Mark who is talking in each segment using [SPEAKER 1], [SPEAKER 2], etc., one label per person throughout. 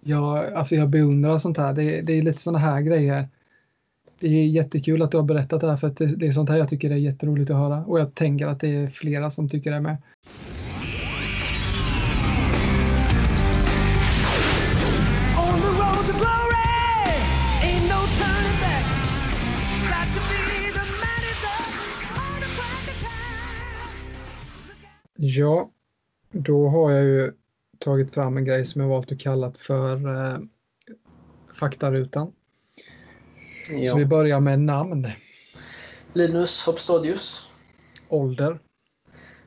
[SPEAKER 1] jag, alltså jag beundrar sånt här. Det, det är lite såna här grejer. Det är jättekul att du har berättat det här för att det, det är sånt här jag tycker är jätteroligt att höra och jag tänker att det är flera som tycker det med.
[SPEAKER 2] On the road to glory, ain't no turning back. It's got to be the man is up, all upon the time. Look out.
[SPEAKER 1] Ja, då har jag ju tagit fram en grej som jag valt att kalla för eh, faktarutan. Så vi
[SPEAKER 3] Ja.
[SPEAKER 1] börjar med namn,
[SPEAKER 3] Linus Hopstadius,
[SPEAKER 1] ålder,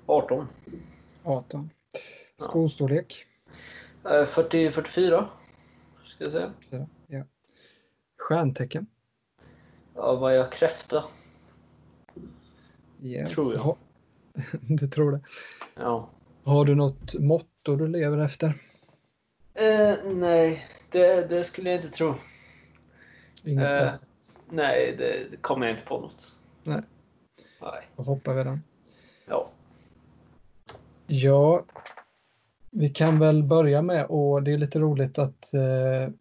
[SPEAKER 3] 18.
[SPEAKER 1] 18, skostorlek,
[SPEAKER 3] Eh, 40, 44, ska jag säga.
[SPEAKER 1] fyra, ja. stjärntecken.
[SPEAKER 3] Ja, vad är jag? Kräfta?
[SPEAKER 1] Yes.
[SPEAKER 3] Tror jag.
[SPEAKER 1] Ha- Du tror det.
[SPEAKER 3] Ja.
[SPEAKER 1] Har du något motto du lever efter?
[SPEAKER 3] Eh, nej, det, det skulle jag inte tro.
[SPEAKER 1] Inget
[SPEAKER 3] Eh.
[SPEAKER 1] sätt.
[SPEAKER 3] Nej, det, det kommer jag inte på något.
[SPEAKER 1] Nej.
[SPEAKER 3] Nej.
[SPEAKER 1] Då hoppar vi den.
[SPEAKER 3] Ja.
[SPEAKER 1] Ja, vi kan väl börja med och det är lite roligt att eh,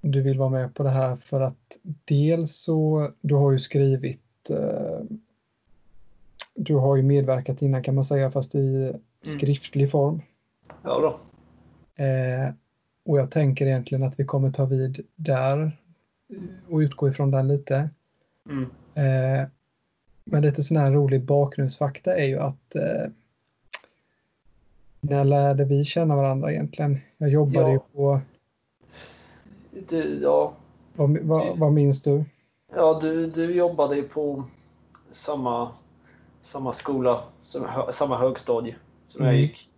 [SPEAKER 1] du vill vara med på det här för att dels så, du har ju skrivit, eh, du har ju medverkat innan kan man säga fast i skriftlig form.
[SPEAKER 3] Ja då.
[SPEAKER 1] Eh, och jag tänker egentligen att vi kommer ta vid där och utgå ifrån den lite.
[SPEAKER 3] Mm.
[SPEAKER 1] Eh, men lite sån här rolig bakgrundsfakta är ju att eh, när lärde vi känna varandra egentligen? Jag jobbade
[SPEAKER 3] Ja.
[SPEAKER 1] ju på,
[SPEAKER 3] Du, ja.
[SPEAKER 1] vad, vad, vad minns du?
[SPEAKER 3] Ja, du, du jobbade ju på samma, samma skola, som, hö- samma högstadie som jag
[SPEAKER 1] Mm.
[SPEAKER 3] gick.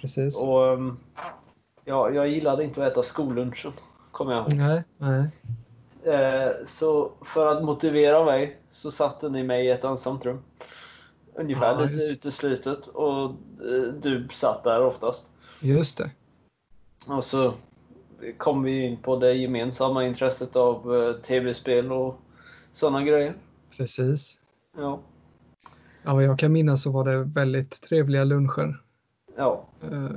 [SPEAKER 1] Precis.
[SPEAKER 3] Och ehm, ja, jag gillade inte att äta skollunchen, kommer jag ihåg.
[SPEAKER 1] Nej, nej.
[SPEAKER 3] Eh, så för att motivera mig så satte ni mig i ett ensamt rum. Ungefär
[SPEAKER 1] Ja,
[SPEAKER 3] lite
[SPEAKER 1] just.
[SPEAKER 3] uteslutet och eh, du satt där oftast.
[SPEAKER 1] Just det.
[SPEAKER 3] Och så kom vi in på det gemensamma intresset av eh, tv-spel och sådana grejer.
[SPEAKER 1] Precis.
[SPEAKER 3] Ja,
[SPEAKER 1] Ja, vad jag kan minnas så var det väldigt trevliga luncher.
[SPEAKER 3] ja
[SPEAKER 1] Eh,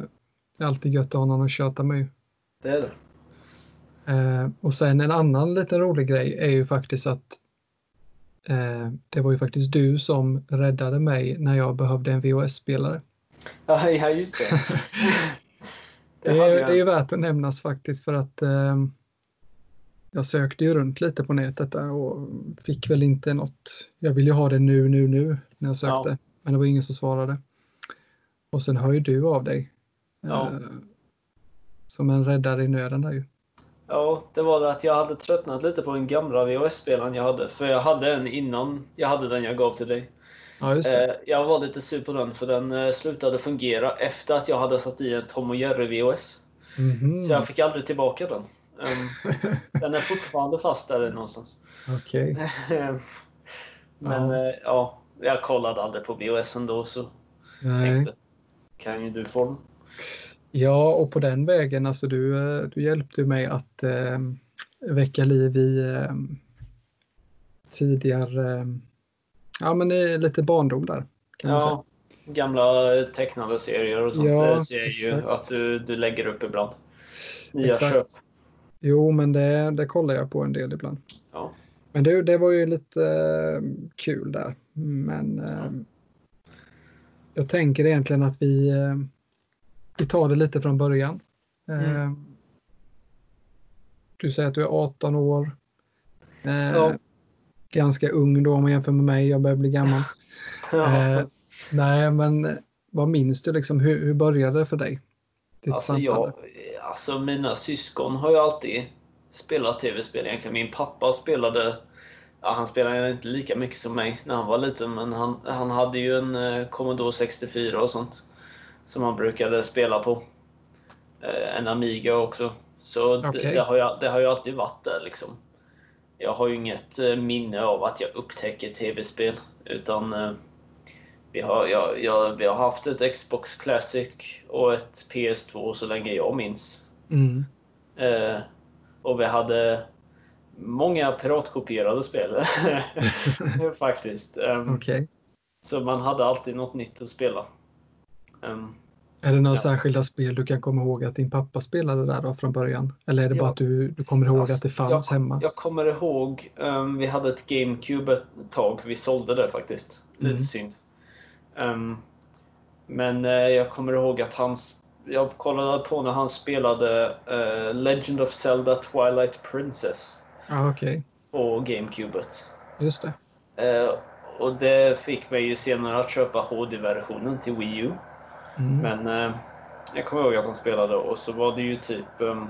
[SPEAKER 1] det är alltid gött att ha någon att köta med. ju.
[SPEAKER 3] det är det.
[SPEAKER 1] Eh, och sen en annan liten rolig grej är ju faktiskt att eh, det var ju faktiskt du som räddade mig när jag behövde en VHS-spelare.
[SPEAKER 3] Ja, ja just det.
[SPEAKER 1] Det
[SPEAKER 3] hade
[SPEAKER 1] är,
[SPEAKER 3] jag.
[SPEAKER 1] det är ju värt att nämnas faktiskt för att eh, jag sökte ju runt lite på nätet där och fick väl inte något. Jag ville ju ha det nu, nu, nu när jag sökte.
[SPEAKER 3] Ja.
[SPEAKER 1] Men det var ingen som svarade. Och sen hör ju du av dig.
[SPEAKER 3] Ja.
[SPEAKER 1] Eh, som en räddare i nöden där ju.
[SPEAKER 3] Ja, det var det att jag hade tröttnat lite på den gamla VHS-spelaren jag hade. För jag hade en innan jag hade den jag gav till dig.
[SPEAKER 1] Ja, just det.
[SPEAKER 3] Eh, jag var lite sur på den för den eh, slutade fungera efter att jag hade satt i en Tom och Jerry VHS.
[SPEAKER 1] Mhm.
[SPEAKER 3] Så jag fick aldrig tillbaka den. Ehm, den är fortfarande fast där någonstans.
[SPEAKER 1] Okej.
[SPEAKER 3] Ehm, Men
[SPEAKER 1] Ja.
[SPEAKER 3] ja. Eh, ja, jag kollade aldrig på VHS ändå så
[SPEAKER 1] Nej.
[SPEAKER 3] tänkte kan ju du få den.
[SPEAKER 1] Ja, och på den vägen, alltså du, eh, du hjälpte ju mig att eh, väcka liv i eh, tidigare, eh, ja men i lite barndom där. Kan man säga.
[SPEAKER 3] Ja, gamla eh, tecknade serier och sånt
[SPEAKER 1] Ja,
[SPEAKER 3] ja, ser jag ju
[SPEAKER 1] exakt.
[SPEAKER 3] att du, du lägger upp ibland. Nya
[SPEAKER 1] Exakt.
[SPEAKER 3] köp.
[SPEAKER 1] Jo, men det, det kollar jag på en del ibland.
[SPEAKER 3] Ja.
[SPEAKER 1] Men det, det var ju lite eh, kul där. Men eh, jag tänker egentligen att vi, eh, vi tar det lite från början. Eh,
[SPEAKER 3] Mm.
[SPEAKER 1] Du säger att du är 18 år. Eh,
[SPEAKER 3] Ja.
[SPEAKER 1] Ganska ung då om man jämför med mig. Jag börjar bli gammal.
[SPEAKER 3] Ja.
[SPEAKER 1] Eh, nej, men vad minns du liksom? Hur, hur började det för dig? Ditt
[SPEAKER 3] Alltså, jag, alltså mina syskon har ju alltid spelat tv-spel egentligen. Min pappa spelade, ja, han spelade inte lika mycket som mig när han var liten, men han, han hade ju en eh, Commodore 64 och sånt som han brukade spela på. Eh, en Amiga också. Så det,
[SPEAKER 1] Okej.
[SPEAKER 3] det, har jag, det har ju alltid varit där liksom. Jag har ju inget eh, minne av att jag upptäcker tv-spel, utan eh, vi har, ja, ja, vi har haft ett Xbox Classic och ett PS2 så länge jag minns.
[SPEAKER 1] Mm.
[SPEAKER 3] Eh, och vi hade många piratkopierade spel faktiskt. Ehm,
[SPEAKER 1] Okej.
[SPEAKER 3] Så man hade alltid något nytt att spela. Ehm,
[SPEAKER 1] Är det några
[SPEAKER 3] Ja.
[SPEAKER 1] särskilda spel du kan komma ihåg att din pappa spelade där då från början? Eller är det
[SPEAKER 3] Ja.
[SPEAKER 1] bara att du, du kommer ihåg
[SPEAKER 3] Alltså,
[SPEAKER 1] att det fanns
[SPEAKER 3] jag,
[SPEAKER 1] hemma?
[SPEAKER 3] Jag kommer ihåg, ehm, vi hade ett GameCube ett tag. Vi sålde det faktiskt. Lite
[SPEAKER 1] Mm.
[SPEAKER 3] synd. Ehm, men eh, jag kommer ihåg att han... s- Jag kollade på när han spelade eh, Legend of Zelda Twilight Princess
[SPEAKER 1] Ja, okej.
[SPEAKER 3] på GameCubet.
[SPEAKER 1] Just det.
[SPEAKER 3] Eh, och det fick mig ju senare att köpa HD-versionen till Wii U.
[SPEAKER 1] Mm.
[SPEAKER 3] Men eh, jag kommer ihåg att han spelade och så var det ju typ... ehm,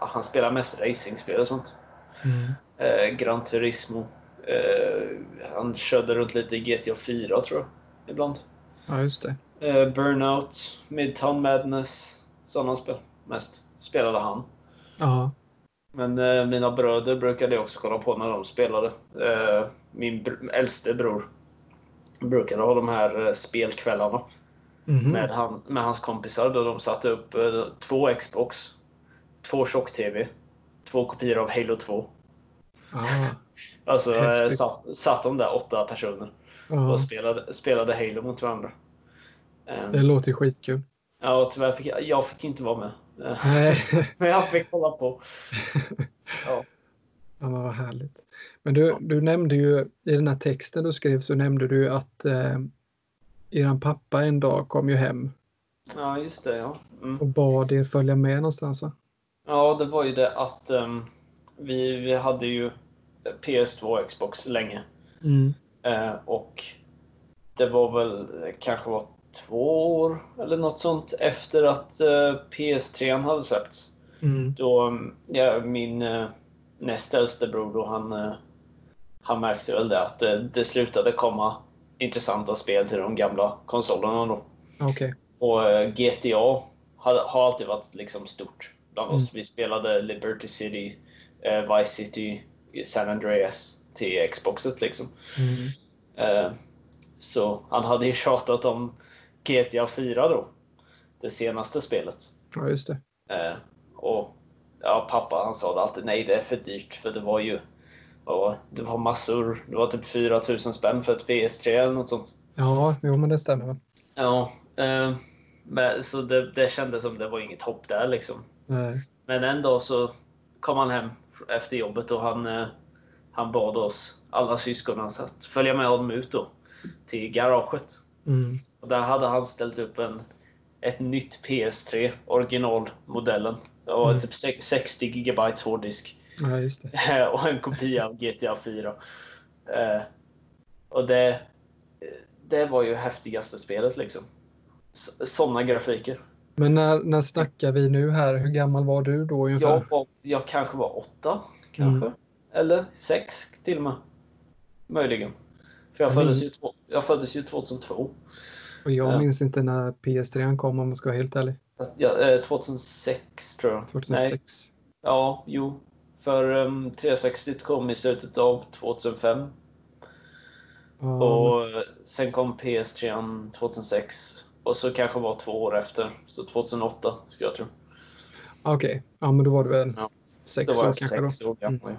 [SPEAKER 3] han spelade mest racingspel och sånt.
[SPEAKER 1] Mm.
[SPEAKER 3] Eh, Gran Turismo. Eh, han körde runt lite i GTA 4 tror jag. Ibland.
[SPEAKER 1] Ja, just det.
[SPEAKER 3] Eh, Burnout, Midtown Madness. Sådana spel. Mest spelade han.
[SPEAKER 1] Ja,
[SPEAKER 3] Men eh, mina bröder brukade jag också kolla på när de spelade. Eh, min br- äldste bror brukade ha de här eh, spelkvällarna
[SPEAKER 1] Mhm.
[SPEAKER 3] med, han, med hans kompisar. Då de satte upp eh, två Xbox, två tjock-TV, två kopior av Halo 2.
[SPEAKER 1] ja.
[SPEAKER 3] Alltså eh,
[SPEAKER 1] Häftigt.
[SPEAKER 3] satt, satt de där åtta personer
[SPEAKER 1] ja.
[SPEAKER 3] och spelade, spelade Halo mot varandra. Eh,
[SPEAKER 1] Det låter ju skitkul.
[SPEAKER 3] Ja, och tyvärr fick jag, jag fick inte vara med. Eh,
[SPEAKER 1] Nej,
[SPEAKER 3] Men jag fick kolla på. Ja,
[SPEAKER 1] ja, men vad härligt. Men du, du nämnde ju i den här texten du skrev så nämnde du att eh, eran pappa en dag kom ju hem
[SPEAKER 3] ja just det. Ja. Mm.
[SPEAKER 1] och bad er följa med någonstans va?
[SPEAKER 3] Ja, det var ju det att ehm, vi, vi hade ju PS2 och Xbox länge.
[SPEAKER 1] Mm.
[SPEAKER 3] Eh, och det var väl eh, kanske var två år eller något sånt efter att eh, PS3 an hade släppts.
[SPEAKER 1] Mm.
[SPEAKER 3] Då mm, ja, min eh, näst äldste bror då han, eh, han märkte väl det att eh, det slutade komma intressanta spel till de gamla konsolerna då.
[SPEAKER 1] Okej.
[SPEAKER 3] Och eh, GTA har, har alltid varit liksom stort bland oss. Vi spelade Liberty City, eh, Vice City, San Andreas till Xboxet liksom.
[SPEAKER 1] Mm.
[SPEAKER 3] Eh, så han hade ju tjatat om GTA 4 då. Det senaste spelet.
[SPEAKER 1] Ja, just det.
[SPEAKER 3] Eh, och ja, pappa han sa det alltid, nej det är för dyrt för det var ju ja, det var massor, det var typ 4000 spänn för ett VS3 eller något sånt.
[SPEAKER 1] Ja, jo men det stämmer väl.
[SPEAKER 3] Ja, eh, men, så det, det kändes som det var inget hopp där liksom.
[SPEAKER 1] Nej.
[SPEAKER 3] Men en dag så kom han hem efter jobbet och han, eh, han bad oss, alla syskonen, att följa med honom ut då till garaget.
[SPEAKER 1] Mm.
[SPEAKER 3] Och där hade han ställt upp en, ett nytt PS3, originalmodellen. Och
[SPEAKER 1] Mm.
[SPEAKER 3] typ sex- 60 gigabytes hårddisk.
[SPEAKER 1] Ja, just det.
[SPEAKER 3] och en kopia av GTA 4. Eh, och det, det var ju häftigaste spelet liksom. Sådana grafiker.
[SPEAKER 1] Men när, när snackar vi nu här? Hur gammal var du då
[SPEAKER 3] Jag,
[SPEAKER 1] ungefär?
[SPEAKER 3] var, jag kanske var åtta, kanske. Eller sex till och med. Möjligen. För jag
[SPEAKER 1] Jag
[SPEAKER 3] föddes, ju två, jag föddes ju 2002.
[SPEAKER 1] Och jag
[SPEAKER 3] Ja.
[SPEAKER 1] minns inte när PS3 kom om man ska vara helt ärlig.
[SPEAKER 3] Ja, eh, 2006 tror jag. Nej,
[SPEAKER 1] 2006.
[SPEAKER 3] Ja, jo. För um, 360 kom i slutet av 2005
[SPEAKER 1] Mm. Ja,
[SPEAKER 3] och eh, sen kom PS3 an 2006 och så kanske var två år efter, så 2008 skulle jag tro.
[SPEAKER 1] Okej, ja men då var du väl
[SPEAKER 3] Ja. Då
[SPEAKER 1] sex
[SPEAKER 3] var
[SPEAKER 1] år
[SPEAKER 3] jag
[SPEAKER 1] kanske då. Mm.
[SPEAKER 3] sex år gammal. ja.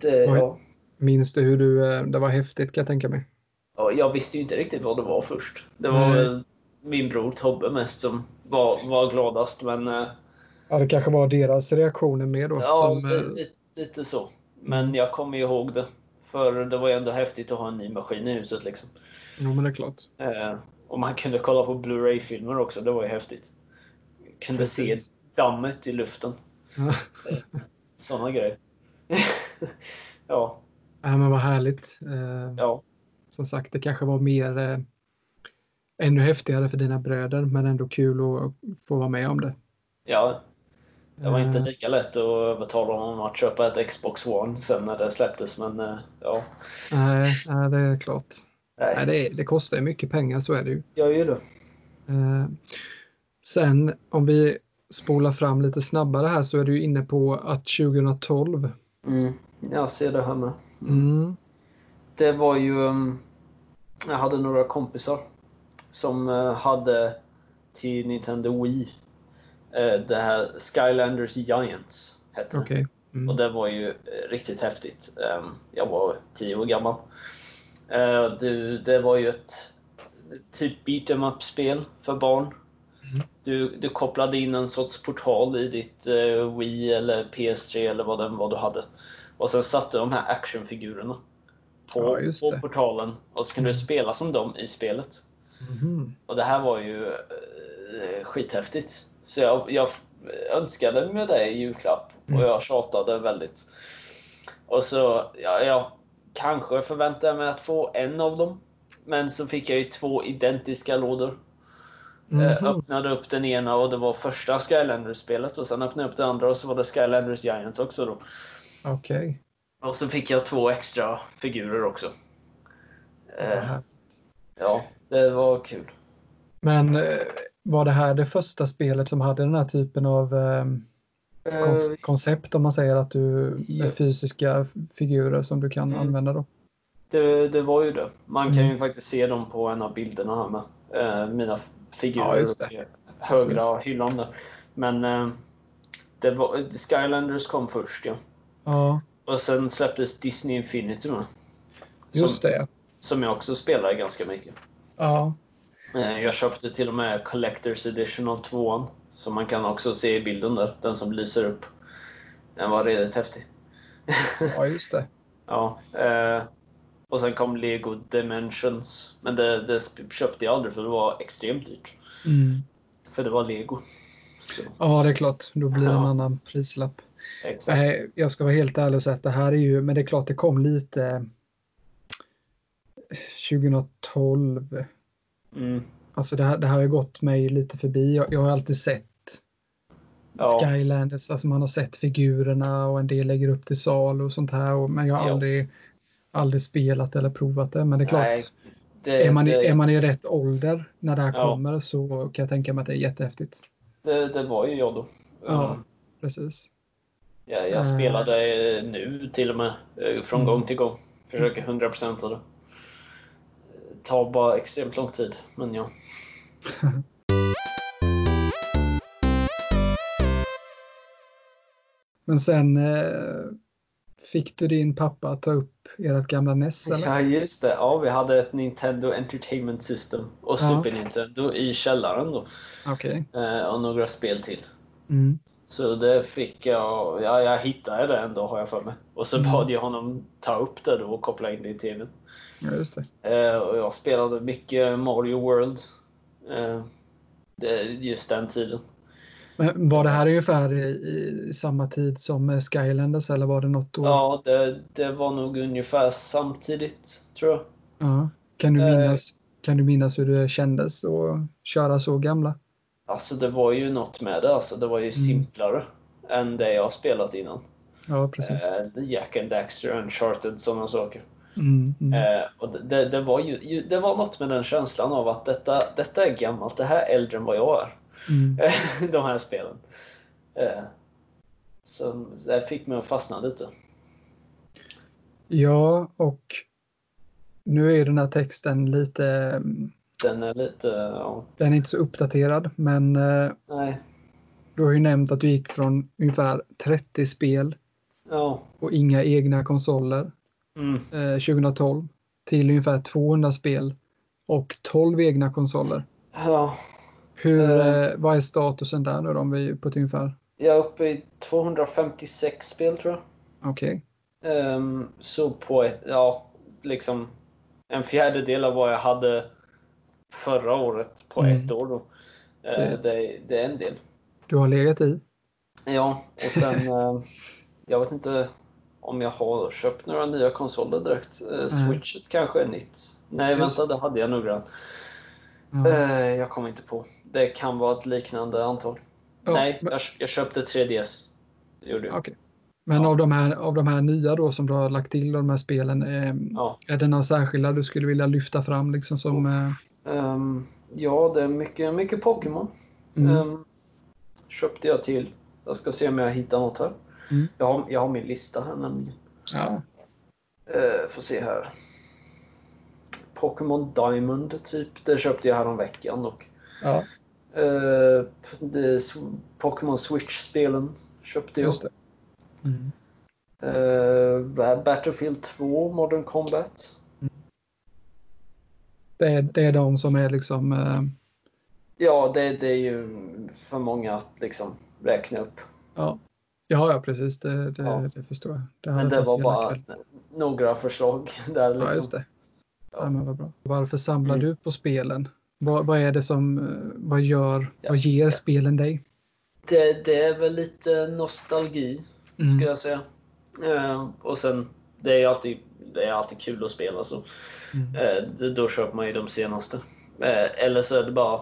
[SPEAKER 3] Det, ja.
[SPEAKER 1] Minns du hur du, eh, det var häftigt kan jag tänka mig.
[SPEAKER 3] Ja, jag visste ju inte riktigt vad det var först. Det var
[SPEAKER 1] Nej.
[SPEAKER 3] väl min bror Tobbe mest som var, var gladast, men eh,
[SPEAKER 1] Ja, det kanske var deras reaktioner med då.
[SPEAKER 3] Ja,
[SPEAKER 1] som,
[SPEAKER 3] li-
[SPEAKER 1] eh,
[SPEAKER 3] lite, lite så. Men jag kommer ju ihåg det. För det var ju ändå häftigt att ha en ny maskin i huset liksom.
[SPEAKER 1] jo men det är klart.
[SPEAKER 3] Eh, och man kunde kolla på Blu-ray-filmer också, det var ju häftigt. Kunde
[SPEAKER 1] Precis.
[SPEAKER 3] se dammet i luften. Sådana grejer. ja,
[SPEAKER 1] Ja, men vad härligt. Eh,
[SPEAKER 3] ja,
[SPEAKER 1] Som sagt, det kanske var mer eh, ännu häftigare för dina bröder men ändå kul att få vara med om det.
[SPEAKER 3] ja. Det var inte
[SPEAKER 1] Eh,
[SPEAKER 3] lika lätt att övertala honom att köpa ett Xbox One sen när det släpptes, men eh, ja.
[SPEAKER 1] Nej, nej, det är klart. Nej,
[SPEAKER 3] Nej,
[SPEAKER 1] det, det kostar ju mycket pengar, så är det ju.
[SPEAKER 3] jag gör det.
[SPEAKER 1] Eh, sen om vi spolar fram lite snabbare här så är du ju inne på att 2012.
[SPEAKER 3] Mm, jag ser det här med.
[SPEAKER 1] Mm,
[SPEAKER 3] det var ju... um, Jag hade några kompisar som eh, hade till Nintendo Wii eh, det här Skylanders Giants. Hette det.
[SPEAKER 1] Okej. Mm.
[SPEAKER 3] Och det var ju eh, riktigt häftigt. Ehm, Jag var tio år gammal. Eh, Det, det var ju ett... typ beat em up-spel för barn.
[SPEAKER 1] Mm.
[SPEAKER 3] Du, du kopplade in en sorts portal i ditt eh, Wii eller PS3 eller vad, den, vad du hade. Och sen satte de här actionfigurerna på,
[SPEAKER 1] Ja, just
[SPEAKER 3] på
[SPEAKER 1] det.
[SPEAKER 3] portalen och så kunde du
[SPEAKER 1] Mm.
[SPEAKER 3] spela som dem i spelet.
[SPEAKER 1] Mhm.
[SPEAKER 3] Och det här var ju eh, skithäftigt. Så jag, jag önskade mig det i julklapp
[SPEAKER 1] Mm.
[SPEAKER 3] och jag tjatade väldigt. Och så, ja, jag kanske förväntade mig att få en av dem. Men så fick jag ju två identiska lådor. Eh,
[SPEAKER 1] Mhm.
[SPEAKER 3] öppnade upp den ena och det var första Skylanders-spelet och sen öppnade jag upp det andra och så var det Skylanders Giants också då.
[SPEAKER 1] Okej.
[SPEAKER 3] Och så fick jag två extra figurer också. Eh,
[SPEAKER 1] Aha.
[SPEAKER 3] ja, det var kul.
[SPEAKER 1] Men eh, var det här det första spelet som hade den här typen av eh, kon- koncept om man säger att du
[SPEAKER 3] ja.
[SPEAKER 1] med fysiska figurer som du kan
[SPEAKER 3] Mm.
[SPEAKER 1] använda då?
[SPEAKER 3] Det, det var ju det. Man kan ju
[SPEAKER 1] Mm.
[SPEAKER 3] faktiskt se dem på en av bilderna här med. Eh, mina f- figurer
[SPEAKER 1] Ja, just det.
[SPEAKER 3] uppe i högra
[SPEAKER 1] Precis.
[SPEAKER 3] hyllan där. Men eh, det var, Skylanders kom först ja.
[SPEAKER 1] Ja,
[SPEAKER 3] Och sen släpptes Disney Infinity med. Som,
[SPEAKER 1] just det.
[SPEAKER 3] Som jag också spelar ganska mycket.
[SPEAKER 1] Ja,
[SPEAKER 3] Eh, jag köpte till och med Collector's Edition av tvåan. Som man kan också se i bilden där. Den som lyser upp. Den var redigt häftig.
[SPEAKER 1] ja just det.
[SPEAKER 3] Ja. Eh, och sen kom Lego Dimensions. Men det, det sp- köpte jag aldrig för det var extremt dyrt.
[SPEAKER 1] Mm.
[SPEAKER 3] För det var Lego. Så,
[SPEAKER 1] Ja, det är klart. Då blir det en
[SPEAKER 3] Ja.
[SPEAKER 1] annan prislapp.
[SPEAKER 3] exakt.
[SPEAKER 1] Nej, jag ska vara helt ärlig och säga att det här är ju, men det är klart det kom lite eh, 2012.
[SPEAKER 3] Mm.
[SPEAKER 1] Alltså det här, det här har ju gått mig lite förbi. Jag, jag har alltid sett
[SPEAKER 3] Ja.
[SPEAKER 1] Skylanders, alltså man har sett figurerna och en del lägger upp till sal och sånt här. Och, men jag har
[SPEAKER 3] Ja.
[SPEAKER 1] aldrig, aldrig spelat eller provat det. Men det är klart,
[SPEAKER 3] Nej, det,
[SPEAKER 1] är, man i,
[SPEAKER 3] det,
[SPEAKER 1] är man i rätt ålder när det här
[SPEAKER 3] Ja.
[SPEAKER 1] kommer så kan jag tänka mig att det är jättehäftigt.
[SPEAKER 3] det, det var ju jag då.
[SPEAKER 1] Ja.
[SPEAKER 3] Mm.
[SPEAKER 1] Precis.
[SPEAKER 3] Jag, jag
[SPEAKER 1] Mm.
[SPEAKER 3] spelade eh, nu till och med. eh, Från
[SPEAKER 1] Mm.
[SPEAKER 3] gång till gång. Försöker 100% av det. Eh, Tar bara extremt lång tid. Men ja.
[SPEAKER 1] Men sen eh, fick du din pappa att ta upp ert gamla NES eller?
[SPEAKER 3] Ja, just det. Ja, vi hade ett Nintendo Entertainment System och
[SPEAKER 1] Ja.
[SPEAKER 3] Super Nintendo i källaren då.
[SPEAKER 1] Okej.
[SPEAKER 3] Eh, Och några spel till.
[SPEAKER 1] Mm.
[SPEAKER 3] Så det fick jag. Ja, jag hittade det ändå har jag för mig. Och så
[SPEAKER 1] Mm.
[SPEAKER 3] bad jag honom ta upp det då och koppla in det i TVn.
[SPEAKER 1] Ja, just det.
[SPEAKER 3] Eh, Och jag spelade mycket Mario World. eh, det- Just den tiden.
[SPEAKER 1] Men var det här ungefär i, i samma tid som eh, Skylanders eller var det något år?
[SPEAKER 3] Ja, det, det var nog ungefär samtidigt tror jag.
[SPEAKER 1] Ja. Kan, du
[SPEAKER 3] Eh.
[SPEAKER 1] minnas, kan du minnas hur det kändes att köra så gamla?
[SPEAKER 3] Alltså det var ju något med det. Alltså, det var
[SPEAKER 1] Mm.
[SPEAKER 3] ju simplare än det jag har spelat innan.
[SPEAKER 1] Ja, precis.
[SPEAKER 3] Eh, Jack and Daxter, Uncharted, sådana saker.
[SPEAKER 1] Mm, mm.
[SPEAKER 3] Eh, och det- det, det, var ju, ju, det var något med den känslan av att detta, detta är gammalt, det här är äldre än vad jag är.
[SPEAKER 1] Mm.
[SPEAKER 3] De här spelen. Eh, så det fick mig att fastna lite.
[SPEAKER 1] Ja, och nu är den här texten lite, mm,
[SPEAKER 3] Den är lite... Ja,
[SPEAKER 1] den är inte så uppdaterad, men eh,
[SPEAKER 3] nej.
[SPEAKER 1] du har ju nämnt att du gick från ungefär 30 spel
[SPEAKER 3] Ja.
[SPEAKER 1] och inga egna konsoler
[SPEAKER 3] Mm.
[SPEAKER 1] eh, 2012 till ungefär 200 spel och 12 egna konsoler.
[SPEAKER 3] ja.
[SPEAKER 1] Hur,
[SPEAKER 3] Eh.
[SPEAKER 1] eh, vad är statusen där nu då, om vi på ett ungefär?
[SPEAKER 3] Jag är uppe i 256 spel tror jag.
[SPEAKER 1] Okej.
[SPEAKER 3] Ehm, så på ett, ja, liksom en fjärdedel av vad jag hade förra året på
[SPEAKER 1] Mm.
[SPEAKER 3] ett år då. Eh,
[SPEAKER 1] Det-
[SPEAKER 3] det, det är en del.
[SPEAKER 1] Du har legat i?
[SPEAKER 3] Ja, och sen eh, jag vet inte om jag har köpt några nya konsoler direkt. Eh, Switchet kanske är nytt. Nej,
[SPEAKER 1] Just- Mm.
[SPEAKER 3] vänta, det hade jag nog redan.
[SPEAKER 1] Ja.
[SPEAKER 3] Eh, jag kommer inte på. Det kan vara ett liknande antal.
[SPEAKER 1] Ja,
[SPEAKER 3] Nej,
[SPEAKER 1] men-
[SPEAKER 3] jag, jag köpte 3DS. Gjorde jag.
[SPEAKER 1] Okej. Men
[SPEAKER 3] Ja.
[SPEAKER 1] av, de här, av de här nya då som du har lagt till de här spelen, eh,
[SPEAKER 3] Ja. Oh.
[SPEAKER 1] är det några särskilda du skulle vilja lyfta fram? Liksom som, eh,
[SPEAKER 3] Ehm, ja, det är mycket, mycket Pokémon.
[SPEAKER 1] mm,
[SPEAKER 3] Ehm, köpte jag till. Jag ska se om jag hittar något här.
[SPEAKER 1] Mm.
[SPEAKER 3] Jag, har, jag har min lista här nämligen.
[SPEAKER 1] ja.
[SPEAKER 3] Uh, får se här. Pokémon Diamond typ. Det köpte jag häromveckan dock.
[SPEAKER 1] Ja,
[SPEAKER 3] Eh, det är sw- Pokémon Switch-spelen köpte jag.
[SPEAKER 1] just det. Mm.
[SPEAKER 3] Eh, Battlefield 2 Modern Combat.
[SPEAKER 1] Det är, det är de som är liksom... eh,
[SPEAKER 3] Ja, det, det är ju för många att liksom räkna upp.
[SPEAKER 1] Ja, ja, ja precis. Det, det,
[SPEAKER 3] Ja.
[SPEAKER 1] det förstår jag. Det
[SPEAKER 3] Men
[SPEAKER 1] hade
[SPEAKER 3] det
[SPEAKER 1] varit
[SPEAKER 3] var
[SPEAKER 1] hela
[SPEAKER 3] bara
[SPEAKER 1] kväll.
[SPEAKER 3] några förslag där liksom.
[SPEAKER 1] Ja, just det.
[SPEAKER 3] Ja.
[SPEAKER 1] Ja, men vad bra. Varför samlar
[SPEAKER 3] Mm.
[SPEAKER 1] du på spelen? Vad, vad är det som, eh, vad gör,
[SPEAKER 3] Ja.
[SPEAKER 1] vad ger spelen dig?
[SPEAKER 3] Det, det är väl lite nostalgi,
[SPEAKER 1] Mm.
[SPEAKER 3] skulle jag säga. Eh, och sen, det är ju alltid, det är alltid kul att spela så.
[SPEAKER 1] Mm.
[SPEAKER 3] Eh, det- då köper man ju de senaste. Eh, eller så är det bara...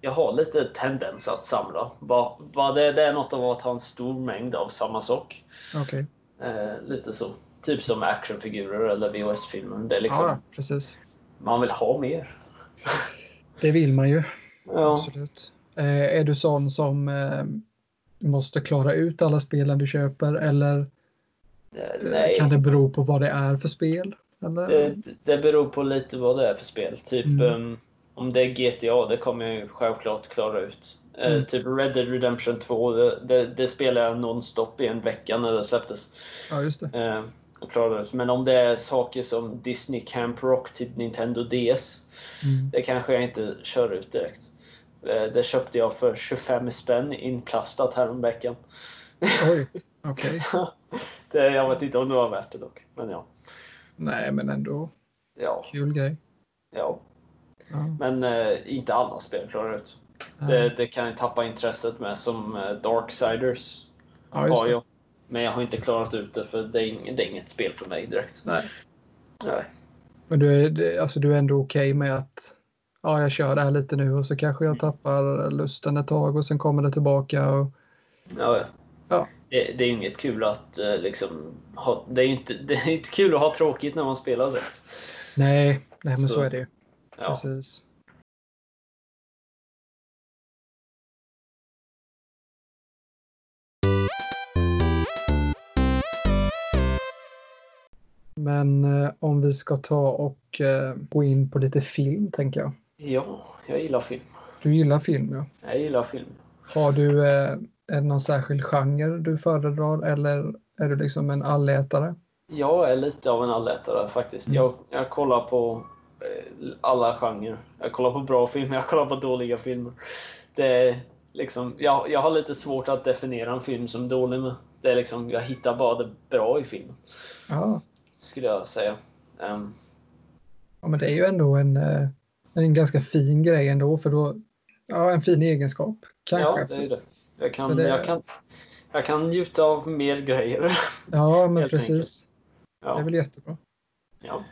[SPEAKER 3] Jag har lite tendens att samla. Bara, bara det, det är något av att ha en stor mängd av samma sak.
[SPEAKER 1] Okej.
[SPEAKER 3] Eh, lite så. Typ som actionfigurer eller VHS-filmer. Det är liksom,
[SPEAKER 1] Ja, precis.
[SPEAKER 3] Man vill ha mer.
[SPEAKER 1] Det vill man ju.
[SPEAKER 3] Ja.
[SPEAKER 1] Absolut. Eh, är du sån som eh, måste klara ut alla spelen du köper eller
[SPEAKER 3] Eh,
[SPEAKER 1] eh,
[SPEAKER 3] Nej. Eh,
[SPEAKER 1] kan det bero på vad det är för spel? Eller?
[SPEAKER 3] Det, det beror på lite vad det är för spel. Typ
[SPEAKER 1] Mm.
[SPEAKER 3] ehm, om det är GTA, det kommer jag ju självklart klara ut. Eh,
[SPEAKER 1] Mm.
[SPEAKER 3] Typ Red Dead Redemption 2, det, det, det spelade jag nonstop i en vecka när det släpptes.
[SPEAKER 1] Ja, just det.
[SPEAKER 3] Eh, och klarade ut. Men om det är saker som Disney Camp Rock till Nintendo DS,
[SPEAKER 1] Mm.
[SPEAKER 3] det kanske jag inte kör ut direkt. Eh, det köpte jag för 25 spänn inplastat häromveckan.
[SPEAKER 1] Oj, okej.
[SPEAKER 3] Det, jag vet inte om det var värt det dock. Men ja.
[SPEAKER 1] Nej, men ändå
[SPEAKER 3] Ja.
[SPEAKER 1] kul grej.
[SPEAKER 3] ja.
[SPEAKER 1] Ja.
[SPEAKER 3] Men eh, inte alla spel klarar ut. Det, det kan jag tappa intresset med som eh, Darksiders
[SPEAKER 1] ja, just
[SPEAKER 3] har
[SPEAKER 1] det.
[SPEAKER 3] jag. Men jag har inte klarat ut det för det är, ing- det är inget spel för mig direkt.
[SPEAKER 1] Nej.
[SPEAKER 3] Nej.
[SPEAKER 1] Men du är, det- alltså, du är ändå okej med att ja, jag kör det här lite nu och så kanske
[SPEAKER 3] Mm.
[SPEAKER 1] jag tappar lusten ett tag och sen kommer det tillbaka. Och,
[SPEAKER 3] Ja, ja.
[SPEAKER 1] Ja.
[SPEAKER 3] Det, det är inget kul att eh, liksom ha, det, är inte, det är inte kul att ha tråkigt när man spelar direkt.
[SPEAKER 1] nej, nej, men så,
[SPEAKER 3] Så-
[SPEAKER 1] är det ju.
[SPEAKER 3] Ja.
[SPEAKER 1] Precis. Men eh, om vi ska ta och eh, gå in på lite film tänker jag.
[SPEAKER 3] ja, jag gillar film.
[SPEAKER 1] Du gillar film ja.
[SPEAKER 3] Jag gillar film.
[SPEAKER 1] Har du eh, är det någon särskild genre du föredrar eller är du liksom en allätare?
[SPEAKER 3] Jag är lite av en allätare faktiskt.
[SPEAKER 1] Mm.
[SPEAKER 3] Jag, jag kollar på eh, alla genrer. Jag kollar på bra filmer, jag kollar på dåliga filmer. Det är liksom, jag, jag har lite svårt att definiera en film som dålig med. Det är liksom, jag hittar bara det bra i filmen,
[SPEAKER 1] Ja,
[SPEAKER 3] skulle jag säga. Ehm,
[SPEAKER 1] ja men det är ju ändå en, eh, en ganska fin grej ändå för då, ja en fin egenskap kanske.
[SPEAKER 3] ja, det är det.
[SPEAKER 1] För
[SPEAKER 3] Jag kan,
[SPEAKER 1] det-
[SPEAKER 3] Jag, kan, jag kan njuta av mer grejer.
[SPEAKER 1] Ja, men
[SPEAKER 3] Helt
[SPEAKER 1] precis. Det är
[SPEAKER 3] Ja,
[SPEAKER 1] väl jättebra.
[SPEAKER 3] ja.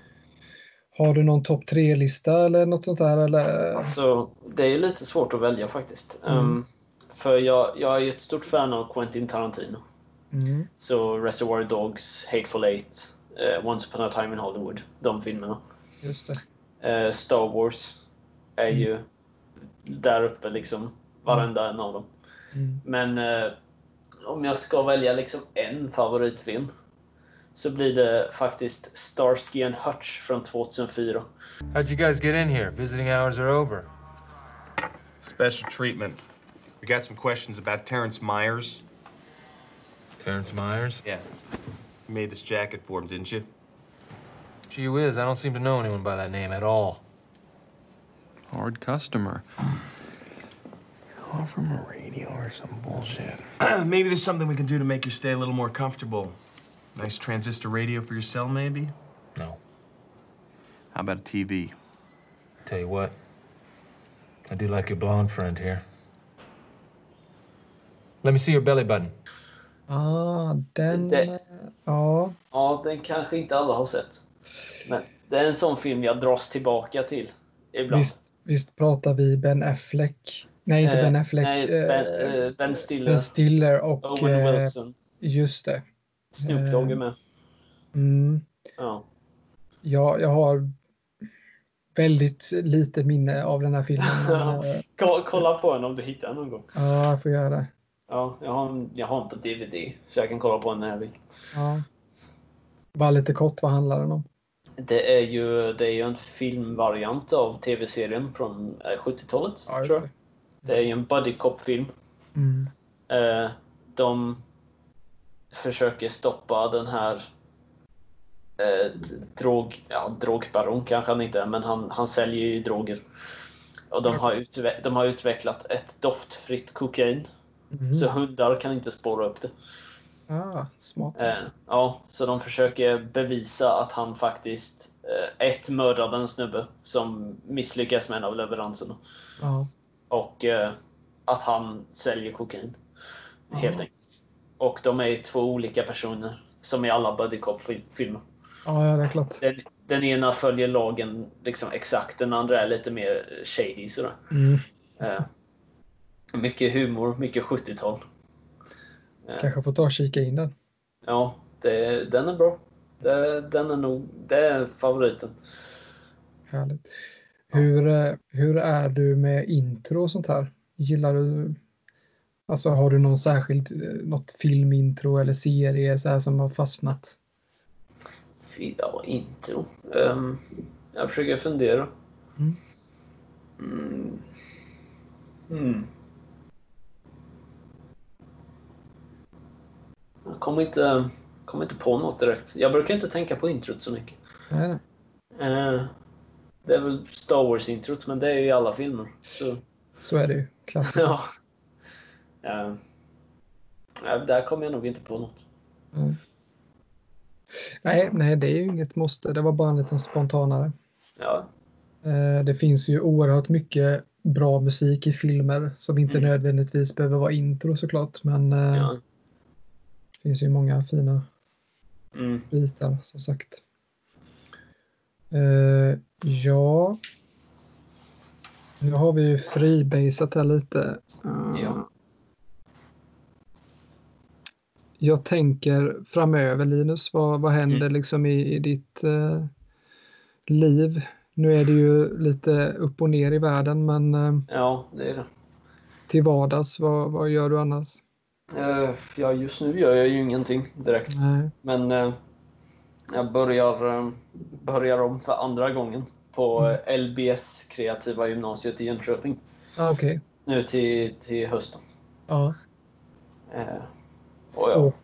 [SPEAKER 1] Har du någon topp tre-lista eller något sånt där? Eller?
[SPEAKER 3] Alltså, det är ju lite svårt att välja faktiskt. Ehm,
[SPEAKER 1] Mm.
[SPEAKER 3] för jag, jag är ju ett stort fan av Quentin Tarantino.
[SPEAKER 1] Mm.
[SPEAKER 3] Så Reservoir Dogs, Hateful Eight, eh, Once upon a time in Hollywood, de filmerna.
[SPEAKER 1] Just det.
[SPEAKER 3] Eh, Star Wars är
[SPEAKER 1] Mm.
[SPEAKER 3] ju där uppe liksom, varenda en av dem.
[SPEAKER 1] Mm.
[SPEAKER 3] Men eh, om jag ska välja liksom en favoritfilm så blir det faktiskt Starsky and Hutch från 2004.
[SPEAKER 4] How'd you guys get in here? Visiting hours are over.
[SPEAKER 5] Special treatment. We got some questions about Terrence Myers.
[SPEAKER 4] Terrence Myers?
[SPEAKER 5] Yeah. You made this jacket for him, didn't you?
[SPEAKER 4] Gee whiz, I don't seem to know anyone by that name at all.
[SPEAKER 6] Hard customer. Call from a radio or some bullshit.
[SPEAKER 5] Maybe there's something we can do to make your stay a little more comfortable. Nice transistor radio for your cell, maybe?
[SPEAKER 4] No.
[SPEAKER 6] How about a TV?
[SPEAKER 4] Tell you what, I do like your blonde friend here. Let me see your belly button.
[SPEAKER 1] Ah, den...
[SPEAKER 3] Det-
[SPEAKER 1] Ja,
[SPEAKER 3] Ja, den kanske inte alla har sett. Men det är en sån film jag dras tillbaka till ibland.
[SPEAKER 1] visst, visst pratar vi Ben Affleck. Nej, inte
[SPEAKER 3] Eh,
[SPEAKER 1] Ben Affleck.
[SPEAKER 3] Nej,
[SPEAKER 1] eh,
[SPEAKER 3] ben, eh, ben Stiller.
[SPEAKER 1] ben Stiller och...
[SPEAKER 3] Owen
[SPEAKER 1] eh,
[SPEAKER 3] Wilson.
[SPEAKER 1] Just det.
[SPEAKER 3] Snoop Dogg är
[SPEAKER 1] eh,
[SPEAKER 3] med.
[SPEAKER 1] Mm.
[SPEAKER 3] Ja.
[SPEAKER 1] Ja, jag har väldigt lite minne av den här filmen. men, eh,
[SPEAKER 3] Ko- Kolla på den om du hittar den någon gång.
[SPEAKER 1] Ja, jag får göra det.
[SPEAKER 3] Ja, jag har, en- jag har den på DVD, så jag kan kolla på den när jag vill.
[SPEAKER 1] Ja. Bara lite kort, vad handlar den om?
[SPEAKER 3] Det är ju, det är ju en filmvariant av tv-serien från eh, 70-talet.
[SPEAKER 1] Ja,
[SPEAKER 3] tror
[SPEAKER 1] just
[SPEAKER 3] jag. Det är ju en buddy cop-film.
[SPEAKER 1] det. Mm.
[SPEAKER 3] Eh, de försöker stoppa den här eh, drog, ja, drogbaron kanske han inte är, men han, han säljer ju droger. Och de har, utve- de har utvecklat ett doftfritt kokain.
[SPEAKER 1] Mm.
[SPEAKER 3] Så hundar kan inte spåra upp det.
[SPEAKER 1] Ah, smart.
[SPEAKER 3] Eh, ja, så de försöker bevisa att han faktiskt eh, ett mördade en snubbe som misslyckas med en av leveranserna.
[SPEAKER 1] Ja.
[SPEAKER 3] Och eh, att han säljer kokain. Helt
[SPEAKER 1] Ja.
[SPEAKER 3] enkelt. Och de är ju två olika personer. Som i alla buddy cop-filmer.
[SPEAKER 1] ja, ja, det är klart.
[SPEAKER 3] Den, den ena följer lagen liksom exakt, den andra är lite mer shady sådär.
[SPEAKER 1] Mm.
[SPEAKER 3] Eh, mycket humor, mycket 70-tal.
[SPEAKER 1] Kanske får ta och kika in den.
[SPEAKER 3] Ja, det, den är bra. Det, den är nog, det är favoriten.
[SPEAKER 1] Härligt. Hur, eh, hur är du med intro och sånt här? Gillar du, alltså har du någon särskild, eh, något filmintro eller serie så här som har fastnat?
[SPEAKER 3] Fy, ja, intro. Um, jag försöker fundera.
[SPEAKER 1] Mm.
[SPEAKER 3] Mm. Mm. Jag kommer inte, kommer inte på något direkt. Jag brukar inte tänka på introt så mycket.
[SPEAKER 1] Nej, nej.
[SPEAKER 3] Eh, det är väl Star Wars-introt, men det är ju i alla filmer. Så,
[SPEAKER 1] Så är det ju. Klassiker.
[SPEAKER 3] ja. Eh, ja, där kommer jag nog inte på något.
[SPEAKER 1] Mm. Nej, nej, det är ju inget måste. Det var bara en liten spontanare.
[SPEAKER 3] Ja,
[SPEAKER 1] Eh, Det finns ju oerhört mycket bra musik i filmer som inte
[SPEAKER 3] Mm.
[SPEAKER 1] nödvändigtvis behöver vara intro såklart. Men eh,
[SPEAKER 3] ja.
[SPEAKER 1] det finns ju många fina
[SPEAKER 3] Mm.
[SPEAKER 1] bitar som sagt. Eh, ja. Nu har vi ju freebaseat här lite. Eh,
[SPEAKER 3] Ja.
[SPEAKER 1] Jag tänker framöver Linus, vad, vad händer
[SPEAKER 3] Mm.
[SPEAKER 1] liksom i, i ditt eh, liv? Nu är det ju lite upp och ner i världen men eh,
[SPEAKER 3] ja, det är det.
[SPEAKER 1] till vardags, vad, vad gör du annars?
[SPEAKER 3] Eh, ja, just nu gör jag ju ingenting direkt.
[SPEAKER 1] Nej.
[SPEAKER 3] Men eh, jag börjar, eh, börjar om för andra gången på eh, LBS kreativa gymnasiet i Jönköping
[SPEAKER 1] Ah, Okej.
[SPEAKER 3] nu till, till hösten.
[SPEAKER 1] Ja.
[SPEAKER 3] Eh, och ja,
[SPEAKER 1] Och,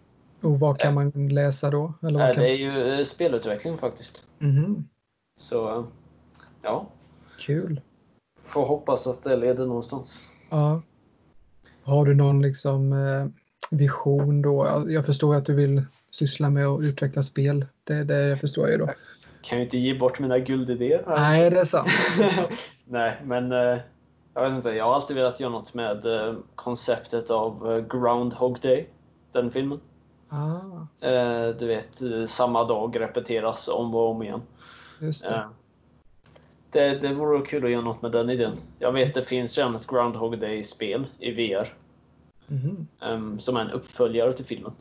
[SPEAKER 1] och vad kan man läsa då? Eller vad
[SPEAKER 3] eh,
[SPEAKER 1] kan...
[SPEAKER 3] det är ju eh, spelutveckling faktiskt.
[SPEAKER 1] Mhm,
[SPEAKER 3] Så eh, ja,
[SPEAKER 1] Kul.
[SPEAKER 3] får hoppas att det leder någonstans.
[SPEAKER 1] Ja. Har du någon liksom eh, vision då? Ja, Jag förstår att du vill syssla med att utveckla spel. Det, det förstår jag ju då.
[SPEAKER 3] Kan ju inte ge bort mina guldidéer. här.
[SPEAKER 1] Nej, det är sant.
[SPEAKER 3] Nej, men eh, jag vet inte. Jag har alltid velat göra något med eh, konceptet av eh, Groundhog Day, den filmen.
[SPEAKER 1] Ah,
[SPEAKER 3] Eh, du vet, eh, samma dag repeteras om och om igen.
[SPEAKER 1] just det.
[SPEAKER 3] Eh, det, det vore kul att göra något med den idén. Jag vet det finns redan ett Groundhog Day-spel i VR
[SPEAKER 1] Mhm,
[SPEAKER 3] ehm, som är en uppföljare till filmen.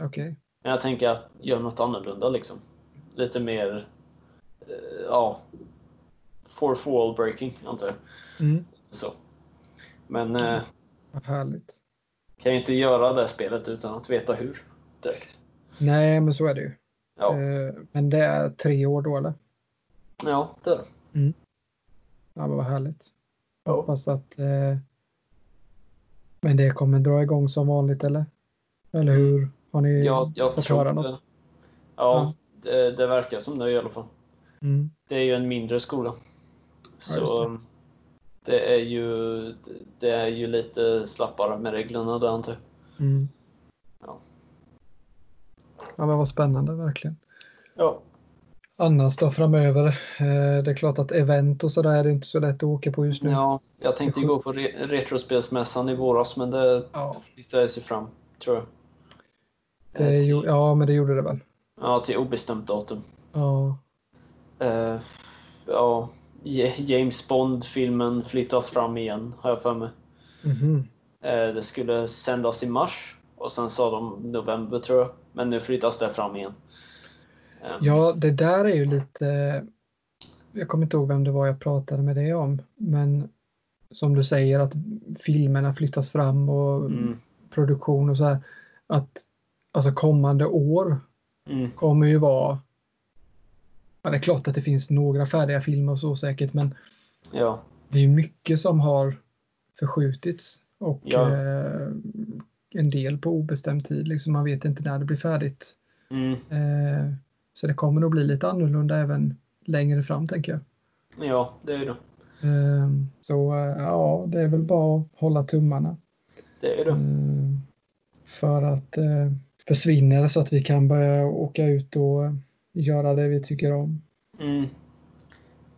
[SPEAKER 1] Okej.
[SPEAKER 3] Men jag tänker att göra något annorlunda liksom. Lite mer, eh, ja, fourth wall breaking antar jag.
[SPEAKER 1] Mm.
[SPEAKER 3] Så. Men eh,
[SPEAKER 1] Vad härligt.
[SPEAKER 3] kan ju inte göra det spelet utan att veta hur direkt.
[SPEAKER 1] Nej, men så är det ju.
[SPEAKER 3] Ja,
[SPEAKER 1] Eh, men det är tre år då, eller?
[SPEAKER 3] ja det är det.
[SPEAKER 1] Ja, men vad härligt.
[SPEAKER 3] Ja.
[SPEAKER 1] Hoppas att... Eh, men det kommer dra igång som vanligt, eller? Eller hur? Har ni
[SPEAKER 3] Jag, jag
[SPEAKER 1] fått
[SPEAKER 3] tror
[SPEAKER 1] höra
[SPEAKER 3] det.
[SPEAKER 1] något?
[SPEAKER 3] Ja, det, det verkar som det i alla fall.
[SPEAKER 1] Mm.
[SPEAKER 3] Det är ju en mindre skola. Så
[SPEAKER 1] just det.
[SPEAKER 3] det. är ju det är ju lite slappare med reglerna där antar jag.
[SPEAKER 1] Mm.
[SPEAKER 3] Ja.
[SPEAKER 1] Ja, men vad spännande, verkligen.
[SPEAKER 3] Ja.
[SPEAKER 1] annars då framöver? Eh, Det är klart att event och sådär är det inte så lätt att åka på just nu.
[SPEAKER 3] ja, jag tänkte ju gå på re Retrospelsmässan i våras men det
[SPEAKER 1] Ja,
[SPEAKER 3] flyttade sig fram, tror jag.
[SPEAKER 1] det,
[SPEAKER 3] Eh,
[SPEAKER 1] gjo-
[SPEAKER 3] till,
[SPEAKER 1] ja men det gjorde det väl.
[SPEAKER 3] ja, till obestämt datum.
[SPEAKER 1] Ja,
[SPEAKER 3] Eh, ja, Ja- James Bond-filmen flyttas fram igen, har jag för mig.
[SPEAKER 1] mhm.
[SPEAKER 3] Eh, det skulle sändas i mars och sen sa de november, tror jag. Men nu flyttas det fram igen. Eh,
[SPEAKER 1] ja det där är ju lite... Jag kommer inte ihåg vem det var jag pratade med det om. Men som du säger att filmerna flyttas fram och
[SPEAKER 3] Mm,
[SPEAKER 1] produktion och så här. Att alltså kommande år
[SPEAKER 3] mm,
[SPEAKER 1] kommer ju vara... Ja, det är klart att det finns några färdiga filmer och så säkert men
[SPEAKER 3] ja.
[SPEAKER 1] det är mycket som har förskjutits och
[SPEAKER 3] Ja.
[SPEAKER 1] eh, en del på obestämd tid. Liksom man vet inte när det blir färdigt.
[SPEAKER 3] Mm,
[SPEAKER 1] Eh, Så det kommer nog bli lite annorlunda även längre fram tänker jag.
[SPEAKER 3] Ja, det är det.
[SPEAKER 1] Ehm, Så eh, ja, det är väl bara att hålla tummarna.
[SPEAKER 3] Det är det.
[SPEAKER 1] Ehm, För att eh, försvinner det så att vi kan börja åka ut och eh, göra det vi tycker om.
[SPEAKER 3] Mm.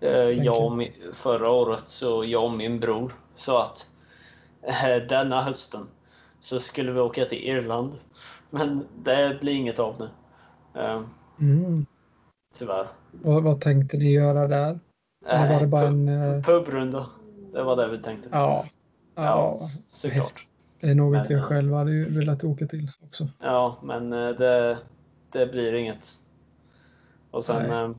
[SPEAKER 3] Eh, Jag och min, förra året så jag och min bror sa att eh, denna hösten så skulle vi åka till Irland. Men det blir inget av nu. Eh,
[SPEAKER 1] Mm.
[SPEAKER 3] Tyvärr.
[SPEAKER 1] Vad, vad tänkte ni göra där? Eller var det
[SPEAKER 3] Eh,
[SPEAKER 1] bara
[SPEAKER 3] pu-
[SPEAKER 1] en... eh,
[SPEAKER 3] Pubrunda. Det var det vi tänkte.
[SPEAKER 1] Ja. Ja,
[SPEAKER 3] såklart.
[SPEAKER 1] det är något jag
[SPEAKER 3] Men-
[SPEAKER 1] själv hade ju velat åka till också.
[SPEAKER 3] Ja, men eh, det, det blir inget. Och sen,
[SPEAKER 1] Nej.
[SPEAKER 3] eh,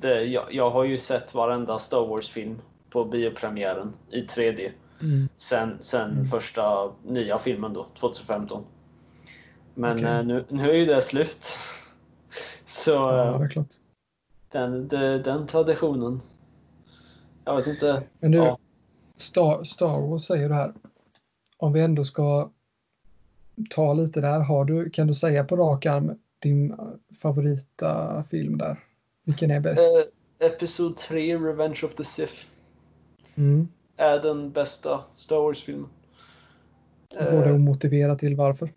[SPEAKER 3] det, jag, jag har ju sett varenda Star Wars-film på biopremiären i 3D.
[SPEAKER 1] Mm.
[SPEAKER 3] Sen, sen
[SPEAKER 1] Mm.
[SPEAKER 3] första nya filmen då, 2015. Men
[SPEAKER 1] Okej.
[SPEAKER 3] eh, nu, nu är ju det slut. Så
[SPEAKER 1] Ja,
[SPEAKER 3] eh,
[SPEAKER 1] det är klart.
[SPEAKER 3] den, de- den traditionen. Jag vet inte.
[SPEAKER 1] Men du,
[SPEAKER 3] Ja.
[SPEAKER 1] Star, Star Wars säger du här. Om vi ändå ska ta lite där, har du, kan du säga på rak arm din eh, favorita film där? Vilken är bäst?
[SPEAKER 3] Eh, Episod 3, Revenge of the Sith,
[SPEAKER 1] Mm.
[SPEAKER 3] är den bästa Star Wars-filmen. Eh,
[SPEAKER 1] Går det att motivera till varför?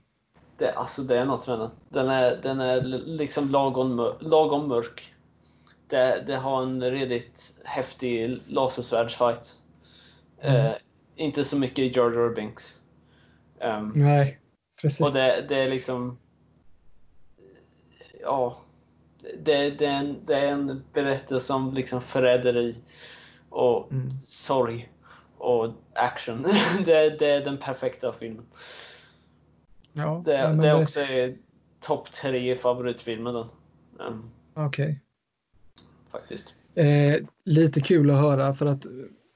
[SPEAKER 3] Det, alltså det är något med den. Den är, den är liksom lagom, mör- lagom mörk. Det, det har en redigt häftig lasersvärdsfight.
[SPEAKER 1] Mm.
[SPEAKER 3] Eh, inte så mycket Jar Jar Binks. Ehm,
[SPEAKER 1] Nej, Mm, precis.
[SPEAKER 3] och det, det är liksom... Ja. Det, det, är en, det är en berättelse om liksom förräderi och
[SPEAKER 1] Mm.
[SPEAKER 3] sorg och action. det, det är den perfekta filmen.
[SPEAKER 1] ja,
[SPEAKER 3] Det,
[SPEAKER 1] nej, men
[SPEAKER 3] det är också är topp tre favoritfilmen den. Ehm,
[SPEAKER 1] Okej.
[SPEAKER 3] faktiskt.
[SPEAKER 1] Eh, lite kul att höra för att eh,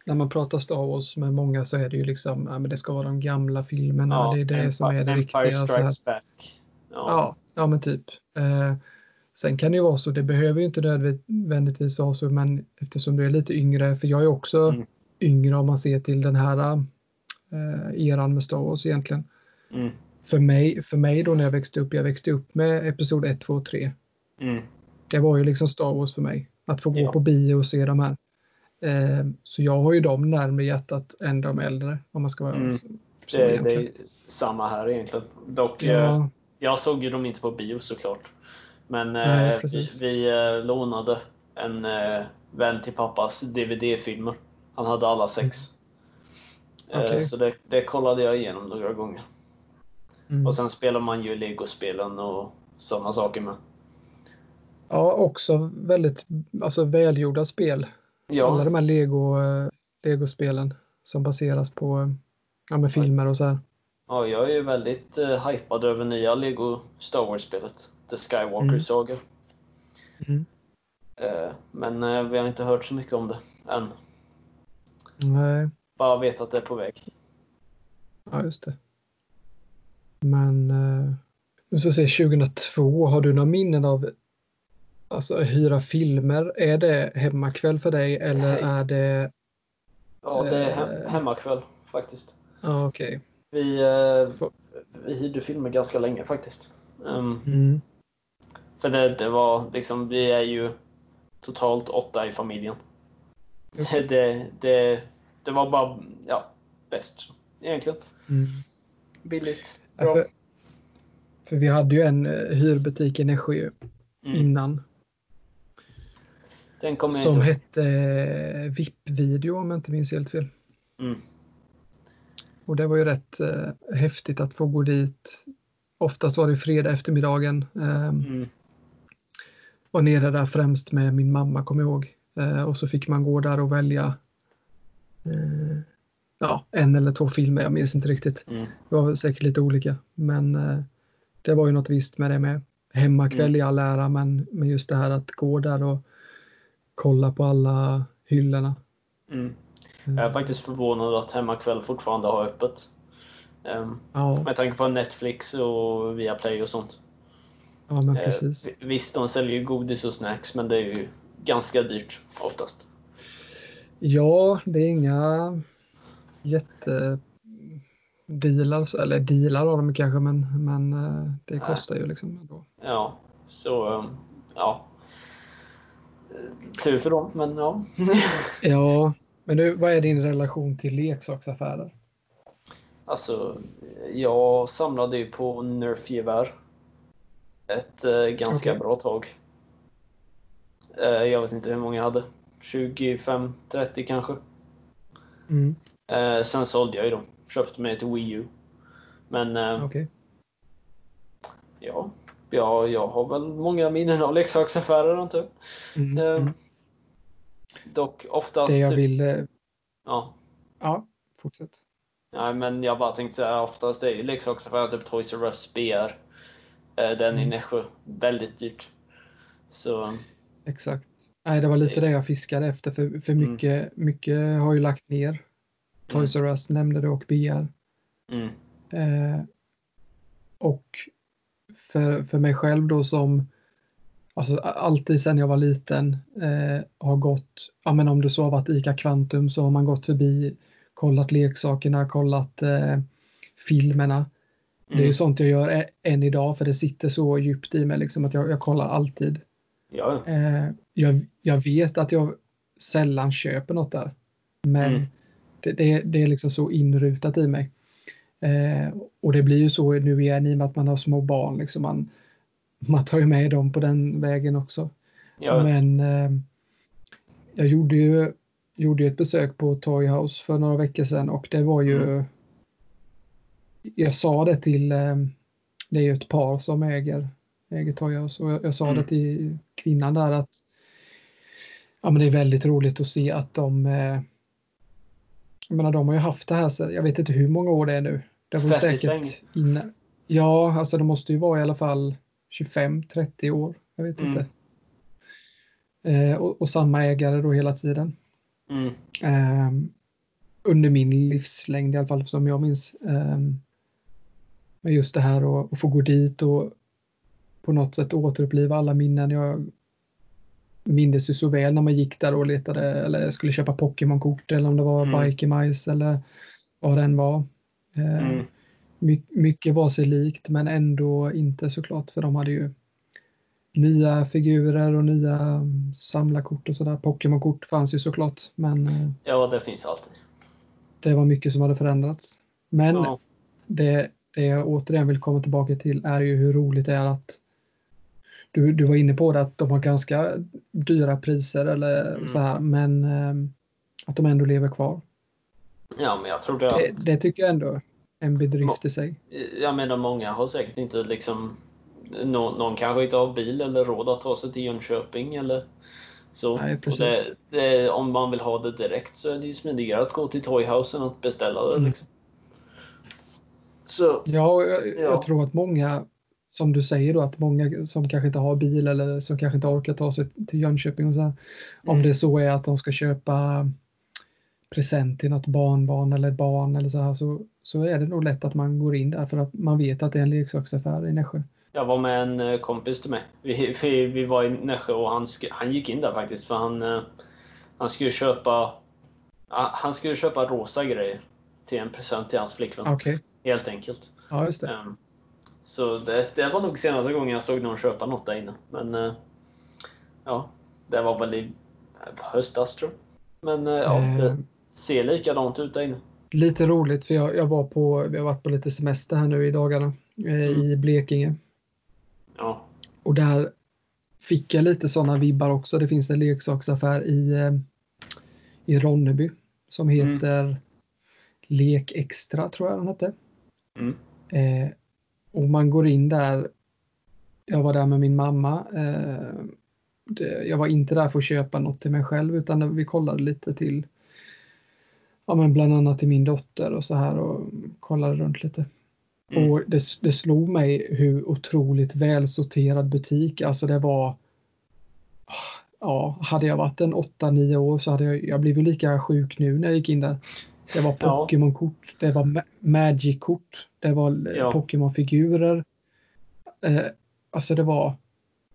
[SPEAKER 1] när man pratar Star Wars med många så är det ju liksom, ja, men det ska vara de gamla filmerna, det är det
[SPEAKER 3] Empire-
[SPEAKER 1] som är det viktiga.
[SPEAKER 3] Empire
[SPEAKER 1] så här.
[SPEAKER 3] Strikes Back. Ja.
[SPEAKER 1] Ja, ja men typ. Eh, sen kan det ju vara så, det behöver ju inte nödvändigtvis vara så, men eftersom du är lite yngre, för jag är också
[SPEAKER 3] Mm.
[SPEAKER 1] yngre om man ser till den här eh, eran med Star Wars egentligen.
[SPEAKER 3] Mm.
[SPEAKER 1] För mig, för mig då när jag växte upp, jag växte upp med Episod 1, 2 och 3.
[SPEAKER 3] Mm.
[SPEAKER 1] Det var ju liksom Star Wars för mig, att få gå
[SPEAKER 3] Ja.
[SPEAKER 1] på bio och se de här. Eh, så jag har ju dem närmare hjärtat än de äldre, om man ska vara
[SPEAKER 3] Mm.
[SPEAKER 1] så, så
[SPEAKER 3] Det, det
[SPEAKER 1] egentligen.
[SPEAKER 3] är samma här egentligen. Dock, eh,
[SPEAKER 1] ja,
[SPEAKER 3] jag såg ju dem inte på bio såklart. Men
[SPEAKER 1] Nej,
[SPEAKER 3] eh, vi,
[SPEAKER 1] precis.
[SPEAKER 3] vi eh, lånade en eh, vän till pappas DVD-filmer. Han hade alla sex. Eh,
[SPEAKER 1] Mm. Okej.
[SPEAKER 3] Så det, det kollade jag igenom några gånger.
[SPEAKER 1] mm.
[SPEAKER 3] Och sen spelar man ju legospelen och sådana saker med.
[SPEAKER 1] ja, också väldigt alltså, välgjorda spel. Alla
[SPEAKER 3] Ja,
[SPEAKER 1] de här Lego, eh, Lego-spelen som baseras på eh, ja, med filmer och så här.
[SPEAKER 3] ja jag är ju väldigt uh, hypad över nya Lego Star Wars-spelet. The Skywalker
[SPEAKER 1] Mm.
[SPEAKER 3] Saga.
[SPEAKER 1] Mm.
[SPEAKER 3] Eh, men eh, vi har inte hört så mycket om det än.
[SPEAKER 1] Nej,
[SPEAKER 3] Bara vet att det är på väg.
[SPEAKER 1] ja just det. Men eh, nu ska jag se, 2002, har du några minnen av alltså, hyra filmer? Är det hemmakväll för dig eller
[SPEAKER 3] Nej.
[SPEAKER 1] är det...
[SPEAKER 3] Ja, det är hem-
[SPEAKER 1] Eh.
[SPEAKER 3] hemmakväll faktiskt.
[SPEAKER 1] Ja, okej.
[SPEAKER 3] Vi, eh,
[SPEAKER 1] Får-
[SPEAKER 3] vi hyrde filmer ganska länge faktiskt. Ehm,
[SPEAKER 1] Mm.
[SPEAKER 3] för det, det var liksom, vi är ju totalt åtta i familjen. Det, det, det, det var bara, ja, bäst egentligen.
[SPEAKER 1] Mm.
[SPEAKER 3] Billigt,
[SPEAKER 1] Ja,
[SPEAKER 3] bra.
[SPEAKER 1] för, för vi hade ju en eh, hyrbutik i Nässjö
[SPEAKER 3] Mm.
[SPEAKER 1] innan
[SPEAKER 3] Den kommer jag
[SPEAKER 1] som
[SPEAKER 3] inte
[SPEAKER 1] hette eh, VIP-video om jag inte minns helt fel.
[SPEAKER 3] mm.
[SPEAKER 1] Och det var ju rätt eh, häftigt att få gå dit. Oftast var det fredag eftermiddagen. Eh,
[SPEAKER 3] Mm.
[SPEAKER 1] Var nere där främst med min mamma, kommer jag ihåg. Eh, och så fick man gå där och välja eh, ja, en eller två filmer, jag minns inte riktigt.
[SPEAKER 3] Mm.
[SPEAKER 1] Det var väl säkert lite olika. Men eh, det var ju något visst med det med. Hemmakväll
[SPEAKER 3] Mm.
[SPEAKER 1] i all ära, men, men just det här att gå där och kolla på alla hyllorna.
[SPEAKER 3] Mm. Jag är faktiskt förvånad att Hemmakväll fortfarande har öppet. Ehm,
[SPEAKER 1] Ja,
[SPEAKER 3] med tanke på Netflix och Viaplay och sånt.
[SPEAKER 1] ja men
[SPEAKER 3] Eh,
[SPEAKER 1] precis.
[SPEAKER 3] vi- Visst, de säljer ju godis och snacks, men det är ju ganska dyrt oftast.
[SPEAKER 1] Ja, det är inga jättedealar, så- eller dealar har de kanske, men, men eh, det kostar ju liksom. ändå.
[SPEAKER 3] Ja, så eh, ja. Eh, Tur för dem, men ja.
[SPEAKER 1] Ja, men du, vad är din relation till leksaksaffärer?
[SPEAKER 3] Alltså, jag samlade ju på Nerf-gevär. Ett eh, ganska
[SPEAKER 1] Okej.
[SPEAKER 3] bra tag. Eh, jag vet inte hur många jag hade. 25, 30 kanske.
[SPEAKER 1] Mm,
[SPEAKER 3] Eh, sen sålde jag ju dem. Köpte mig ett Wii U. Men eh,
[SPEAKER 1] Okej.
[SPEAKER 3] ja, jag, jag har väl många minnen av leksaksaffärer antar jag.
[SPEAKER 1] Mm,
[SPEAKER 3] Eh,
[SPEAKER 1] mm.
[SPEAKER 3] Dock oftast...
[SPEAKER 1] Det jag
[SPEAKER 3] typ-
[SPEAKER 1] vill... eh,
[SPEAKER 3] Ja.
[SPEAKER 1] Ja, fortsätt.
[SPEAKER 3] Nej, men jag bara tänkte säga oftast är ju leksaksaffärer typ Toys R Us BR. Eh, Den i
[SPEAKER 1] Mm.
[SPEAKER 3] Nässjö. Väldigt dyrt. Så
[SPEAKER 1] Exakt. Nej, det var lite det jag fiskade efter för, för
[SPEAKER 3] Mm.
[SPEAKER 1] mycket, mycket har ju lagt ner. Toys R Us nämnde du och BR.
[SPEAKER 3] mm,
[SPEAKER 1] Eh, och för, för mig själv då som alltså, a- alltid sedan jag var liten eh, har gått, ja men om det så har varit ICA Kvantum så har man gått förbi, kollat leksakerna, kollat eh, filmerna. Det är
[SPEAKER 3] Mm.
[SPEAKER 1] ju sånt jag gör ä- än idag för det sitter så djupt i mig liksom att jag, jag kollar alltid.
[SPEAKER 3] ja.
[SPEAKER 1] Eh, jag, jag vet att jag sällan köper något där. Men
[SPEAKER 3] Mm.
[SPEAKER 1] det, det, det är liksom så inrutat i mig. Eh, och det blir ju så nu igen i och med att man har små barn. Liksom man, man tar ju med dem på den vägen också.
[SPEAKER 3] ja.
[SPEAKER 1] Men eh, jag gjorde ju, gjorde ju ett besök på Toy House för några veckor sedan och det var ju...
[SPEAKER 3] Mm.
[SPEAKER 1] Jag sa det till... Eh, det är ju ett par som äger, äger Toy House och jag, jag sa
[SPEAKER 3] Mm.
[SPEAKER 1] det till kvinnan där att ja, men det är väldigt roligt att se att de... Eh, jag menar, de har ju haft det här sedan, jag vet inte hur många år det är nu. Det var ju
[SPEAKER 3] Väldigt
[SPEAKER 1] säkert innan. Ja, alltså det måste ju vara i alla fall 25-30 år. Jag vet
[SPEAKER 3] Mm.
[SPEAKER 1] inte. Eh, och, och samma ägare då hela tiden.
[SPEAKER 3] Mm.
[SPEAKER 1] Ehm, under min livslängd i alla fall som jag minns. Ehm, men just det här och, och få gå dit och på något sätt återuppliva alla minnen. Jag mindes ju så väl när man gick där och letade eller skulle köpa Pokémon-kort eller om det var
[SPEAKER 3] Mm.
[SPEAKER 1] Bikemajs eller vad den var. Ehm,
[SPEAKER 3] Mm.
[SPEAKER 1] My- mycket var sig likt men ändå inte såklart för de hade ju nya figurer och nya mm, samlarkort och sådär. Pokémon-kort fanns ju såklart men eh,
[SPEAKER 3] ja, det finns alltid.
[SPEAKER 1] det var mycket som hade förändrats. Men
[SPEAKER 3] Ja.
[SPEAKER 1] det, det jag återigen vill komma tillbaka till är ju hur roligt det är att du, du var inne på det att de har ganska dyra priser eller
[SPEAKER 3] Mm.
[SPEAKER 1] så här men eh, att de ändå lever kvar.
[SPEAKER 3] ja, men jag tror det.
[SPEAKER 1] Det, det tycker jag ändå är en bedrift i sig.
[SPEAKER 3] Jag menar, många har säkert inte liksom... Någon, någon kanske inte har bil eller råd att ta sig till Jönköping eller så.
[SPEAKER 1] Nej,
[SPEAKER 3] Och
[SPEAKER 1] precis.
[SPEAKER 3] Det, det, om man vill ha det direkt så är det ju smidigare att gå till Toyhouse än att beställa det.
[SPEAKER 1] Mm.
[SPEAKER 3] Liksom. Så,
[SPEAKER 1] Ja, och jag, jag
[SPEAKER 3] Ja.
[SPEAKER 1] tror att många, som du säger då, att många som kanske inte har bil eller som kanske inte orkar ta sig till Jönköping och så här, om
[SPEAKER 3] Mm.
[SPEAKER 1] det så är att de ska köpa present till något barnbarn eller barn eller så här, så, så är det nog lätt att man går in där för att man vet att det är en leksaksaffär i Nässjö.
[SPEAKER 3] Jag var med en eh, kompis till mig. Vi, vi, vi var i Nässjö och han, sk- han gick in där faktiskt för han, eh, han skulle köpa ah, han skulle köpa rosa grejer till en present till hans flickvän.
[SPEAKER 1] Okej,
[SPEAKER 3] Helt enkelt.
[SPEAKER 1] ja just det.
[SPEAKER 3] Ehm, så det, det var nog senaste gången jag såg någon köpa något där inne. Men eh, ja, det var väl i eh, höstas tror jag. Men eh, ja, det
[SPEAKER 1] Ehm.
[SPEAKER 3] ser likadant ut där inne.
[SPEAKER 1] Lite roligt för jag, jag var på, vi har varit på lite semester här nu i dagarna eh, i Blekinge.
[SPEAKER 3] Ja.
[SPEAKER 1] Och där fick jag lite sådana vibbar också. Det finns en leksaksaffär i, eh, i Ronneby som
[SPEAKER 3] Mm.
[SPEAKER 1] heter Lek Extra, tror jag den hette.
[SPEAKER 3] Mm.
[SPEAKER 1] Eh, och man går in där. Jag var där med min mamma. Eh, det, jag var inte där för att köpa något till mig själv utan vi kollade lite till ja, men bland annat till min dotter och så här och kollade runt lite.
[SPEAKER 3] Mm.
[SPEAKER 1] Och det, det slog mig hur otroligt välsorterad butik, alltså det var Ja, hade jag varit en 8-9 år så hade jag, jag blivit lika sjuk nu när jag gick in där. Det var
[SPEAKER 3] Ja.
[SPEAKER 1] Pokémon-kort, det var Ma- Magic-kort, det var eh,
[SPEAKER 3] Ja.
[SPEAKER 1] Pokémon-figurer. Eh, alltså det var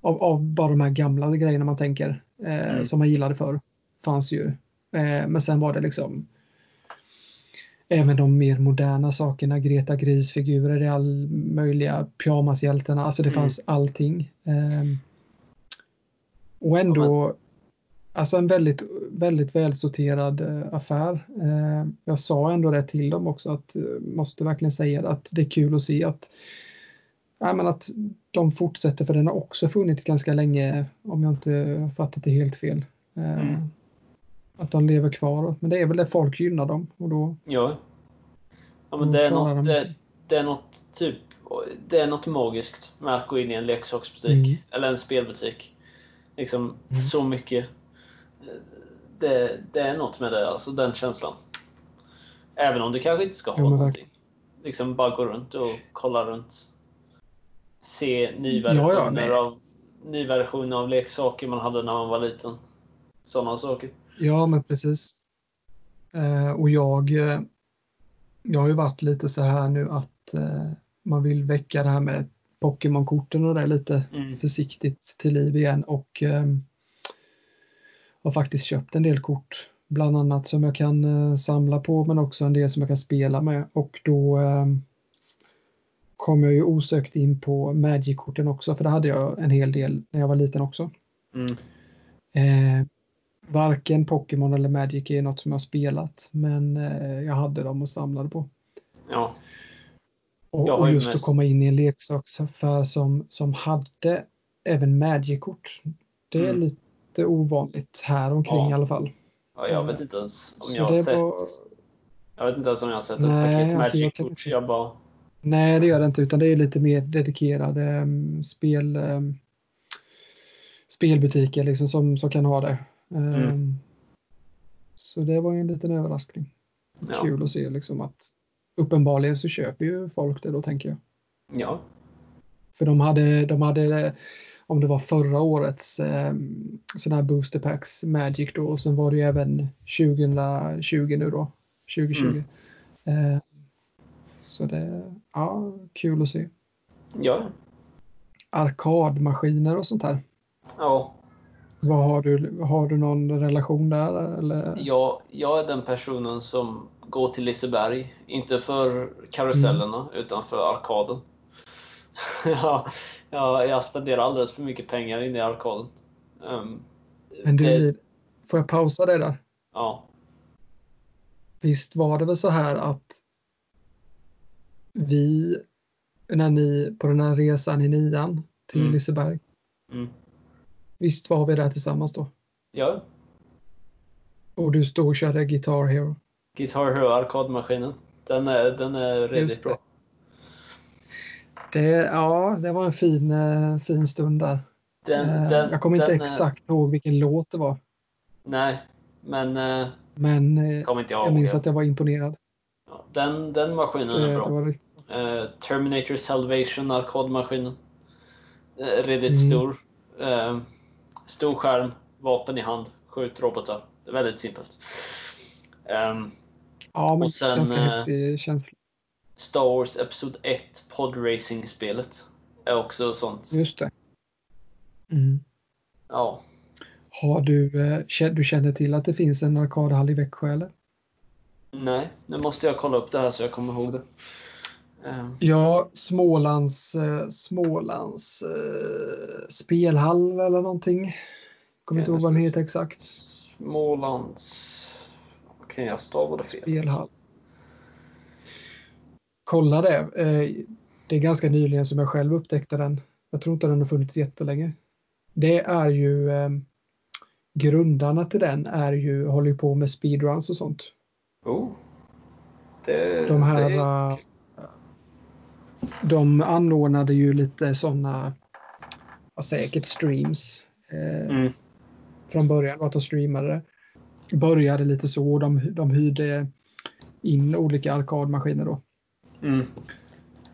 [SPEAKER 1] av, av bara de här gamla grejerna man tänker eh,
[SPEAKER 3] Mm.
[SPEAKER 1] som man gillade förr. Fanns ju. Eh, men sen var det liksom även de mer moderna sakerna, Greta Gris-figurer i all möjliga pyjamashjältarna, alltså det
[SPEAKER 3] Mm.
[SPEAKER 1] fanns allting. Eh, Och ändå, alltså en väldigt, väldigt välsorterad eh, affär. Eh, jag sa ändå det till dem också att eh, måste verkligen säga det, att det är kul att se att, ja, men att de fortsätter för den har också funnits ganska länge om jag inte fattat det helt fel. Eh,
[SPEAKER 3] Mm.
[SPEAKER 1] Att de lever kvar. Men det är väl det folk gynnar dem och då
[SPEAKER 3] Ja. Ja, men
[SPEAKER 1] Mm,
[SPEAKER 3] det är,
[SPEAKER 1] klarar
[SPEAKER 3] något,
[SPEAKER 1] de
[SPEAKER 3] det,
[SPEAKER 1] sig.
[SPEAKER 3] det är något typ... Det är något magiskt med att gå in i en leksaksbutik.
[SPEAKER 1] Mm.
[SPEAKER 3] Eller en spelbutik. Liksom
[SPEAKER 1] Mm.
[SPEAKER 3] så mycket. eh, Det, det är något med det, alltså den känslan. Även om du kanske inte ska ha
[SPEAKER 1] Jo, men
[SPEAKER 3] någonting. Liksom bara gå runt och kolla runt. Se
[SPEAKER 1] Ja, ja,
[SPEAKER 3] nyversioner
[SPEAKER 1] nej.
[SPEAKER 3] av nyversioner av leksaker man hade när man var liten. Sådana saker.
[SPEAKER 1] Ja, men precis. Eh, och jag, eh, jag har ju varit lite så här nu att eh, man vill väcka det här med Pokémon-korten och det lite
[SPEAKER 3] Mm.
[SPEAKER 1] försiktigt till liv igen och eh, har faktiskt köpt en del kort, bland annat som jag kan eh, samla på men också en del som jag kan spela med och då eh, kom jag ju osökt in på Magic-korten också för det hade jag en hel del när jag var liten också.
[SPEAKER 3] Mm.
[SPEAKER 1] Eh, varken Pokémon eller Magic är något som jag har spelat, men eh, jag hade dem och samlade på.
[SPEAKER 3] Ja.
[SPEAKER 1] Och,
[SPEAKER 3] Jag har
[SPEAKER 1] och
[SPEAKER 3] ju
[SPEAKER 1] just
[SPEAKER 3] mest-
[SPEAKER 1] att komma in i en leksaksaffär som, som hade även Magic-kort. Det är
[SPEAKER 3] Mm.
[SPEAKER 1] lite ovanligt här omkring
[SPEAKER 3] Ja.
[SPEAKER 1] i alla fall.
[SPEAKER 3] ja, jag
[SPEAKER 1] Eh,
[SPEAKER 3] vet inte ens om
[SPEAKER 1] så
[SPEAKER 3] jag har
[SPEAKER 1] det
[SPEAKER 3] sett...
[SPEAKER 1] var-
[SPEAKER 3] Jag vet inte ens om jag har sett
[SPEAKER 1] Nej,
[SPEAKER 3] ett paket
[SPEAKER 1] alltså, jag kan
[SPEAKER 3] Magic-kort.
[SPEAKER 1] också-
[SPEAKER 3] Jag bara...
[SPEAKER 1] Nej, det gör det inte, utan det är lite mer dedikerade mm, spel, ehm, spelbutiker liksom, som, som kan ha det. Ehm,
[SPEAKER 3] Mm.
[SPEAKER 1] Så det var ju en liten överraskning.
[SPEAKER 3] Ja.
[SPEAKER 1] Kul att se liksom att uppenbarligen så köper ju folk det då tänker jag.
[SPEAKER 3] ja.
[SPEAKER 1] För de hade, de hade om det var förra årets eh, sådana här booster packs Magic då och sen var det ju även 2020 nu då, 2020. Eh, så det, ja, kul att se.
[SPEAKER 3] Ja.
[SPEAKER 1] Arkadmaskiner och sånt här.
[SPEAKER 3] Ja.
[SPEAKER 1] Vad har du, har du någon relation där eller?
[SPEAKER 3] Jag, jag är den personen som går till Liseberg. Inte för karusellerna,
[SPEAKER 1] Mm.
[SPEAKER 3] utan för arkaden. ja, jag, jag spenderar alldeles för mycket pengar inne i arkaden. Ehm,
[SPEAKER 1] Men du,
[SPEAKER 3] det-
[SPEAKER 1] Liv, får jag pausa dig där?
[SPEAKER 3] ja.
[SPEAKER 1] Visst var det väl så här att vi, när ni, på den här resan i nian till
[SPEAKER 3] Mm.
[SPEAKER 1] Liseberg,
[SPEAKER 3] Mm.
[SPEAKER 1] visst var vi där tillsammans då?
[SPEAKER 3] ja.
[SPEAKER 1] Och du stod och körde Guitar Hero.
[SPEAKER 3] Guitar Hero arkadmaskinen. Den är, den är
[SPEAKER 1] Just
[SPEAKER 3] redigt
[SPEAKER 1] det.
[SPEAKER 3] bra.
[SPEAKER 1] Det, ja, det var en fin, eh, fin stund där.
[SPEAKER 3] Den,
[SPEAKER 1] Eh,
[SPEAKER 3] den,
[SPEAKER 1] jag kommer inte
[SPEAKER 3] den är-
[SPEAKER 1] exakt ihåg vilken låt det var,
[SPEAKER 3] Nej, men eh,
[SPEAKER 1] men eh,
[SPEAKER 3] kommer inte jag
[SPEAKER 1] jag
[SPEAKER 3] ihåg.
[SPEAKER 1] minns att jag var imponerad.
[SPEAKER 3] Ja, Den, den maskinen
[SPEAKER 1] Det,
[SPEAKER 3] är
[SPEAKER 1] det
[SPEAKER 3] bra.
[SPEAKER 1] var,
[SPEAKER 3] Eh, Terminator Salvation arkadmaskinen. Eh, Redigt
[SPEAKER 1] Mm.
[SPEAKER 3] stor. Eh, stor skärm, vapen i hand, skjut robotar. Det är Väldigt simpelt. Ehm,
[SPEAKER 1] ja, men
[SPEAKER 3] Och sen,
[SPEAKER 1] ganska
[SPEAKER 3] eh,
[SPEAKER 1] häftig känsla.
[SPEAKER 3] Star Wars Episod 1 podracing-spelet är också sånt.
[SPEAKER 1] Just det. Mm.
[SPEAKER 3] Ja.
[SPEAKER 1] Har du, eh, kä- du känner till att det finns en arkadhall i Växjö eller?
[SPEAKER 3] Nej, nu måste jag kolla upp det här så jag kommer ihåg det. Ehm,
[SPEAKER 1] Ja, Smålands, eh, Smålands eh, spelhall eller någonting. Kommer inte
[SPEAKER 3] Okej,
[SPEAKER 1] ihåg vad den
[SPEAKER 3] nu ska vi
[SPEAKER 1] heter exakt.
[SPEAKER 3] Smålands... Kan jag stava det fel?
[SPEAKER 1] Spelhall. Kolla det. Eh, det är ganska nyligen som jag själv upptäckte den. Jag tror inte den har funnits jättelänge. Det är ju eh, grundarna till den är ju, håller ju på med speedruns och sånt.
[SPEAKER 3] Oh. Det,
[SPEAKER 1] De här...
[SPEAKER 3] det är-
[SPEAKER 1] eh, De anordnade ju lite sådana, vad säkert streams eh,
[SPEAKER 3] Mm.
[SPEAKER 1] från början. och Att de streamade det. Började lite så. De, de hyrde in olika arkadmaskiner då.
[SPEAKER 3] Mm.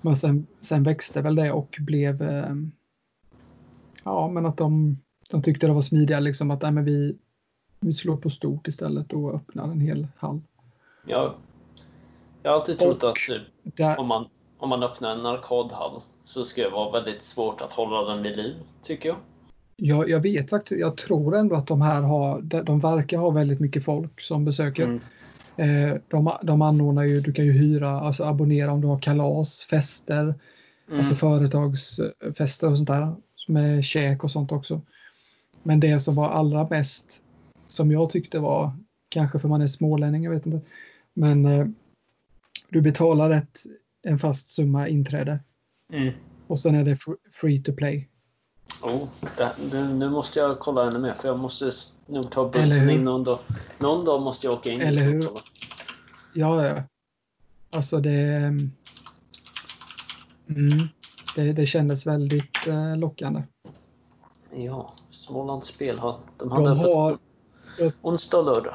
[SPEAKER 1] Men sen, sen växte väl det och blev... Eh, ja, men att de, de tyckte det var smidigare liksom att nej, men vi, vi slår på stort istället och öppnar en hel hall.
[SPEAKER 3] Jag, jag har alltid trott
[SPEAKER 1] Och-
[SPEAKER 3] att typ,
[SPEAKER 1] Där,
[SPEAKER 3] om, man, om man öppnar en arkadhall så ska det vara väldigt svårt att hålla den vid liv, tycker jag.
[SPEAKER 1] Jag, jag vet faktiskt, jag tror ändå att de här har, de de verkar ha väldigt mycket folk som besöker.
[SPEAKER 3] Mm.
[SPEAKER 1] Eh, De, de anordnar ju, du kan ju hyra, alltså abonnera om du har kalas, fester,
[SPEAKER 3] Mm.
[SPEAKER 1] alltså företagsfester och sånt där. Med käk och sånt också. Men det som var allra bäst, som jag tyckte var, kanske för man är smålänning, jag vet inte, men eh, du betalar ett, en fast summa inträde
[SPEAKER 3] Mm.
[SPEAKER 1] och sen är det fr- free to play.
[SPEAKER 3] Oh, det, det, nu måste jag kolla ännu mer för jag måste s- nog ta
[SPEAKER 1] Eller
[SPEAKER 3] bussen
[SPEAKER 1] hur?
[SPEAKER 3] in någon dag. Någon dag måste jag åka in.
[SPEAKER 1] Eller
[SPEAKER 3] och
[SPEAKER 1] hur?
[SPEAKER 3] kolla.
[SPEAKER 1] Ja, ja. Alltså det... ehm, Mm, det, det kändes väldigt eh, lockande.
[SPEAKER 3] Ja, Smålands spelhall. De hade
[SPEAKER 1] De
[SPEAKER 3] öppet
[SPEAKER 1] har,
[SPEAKER 3] onsdag och lördag.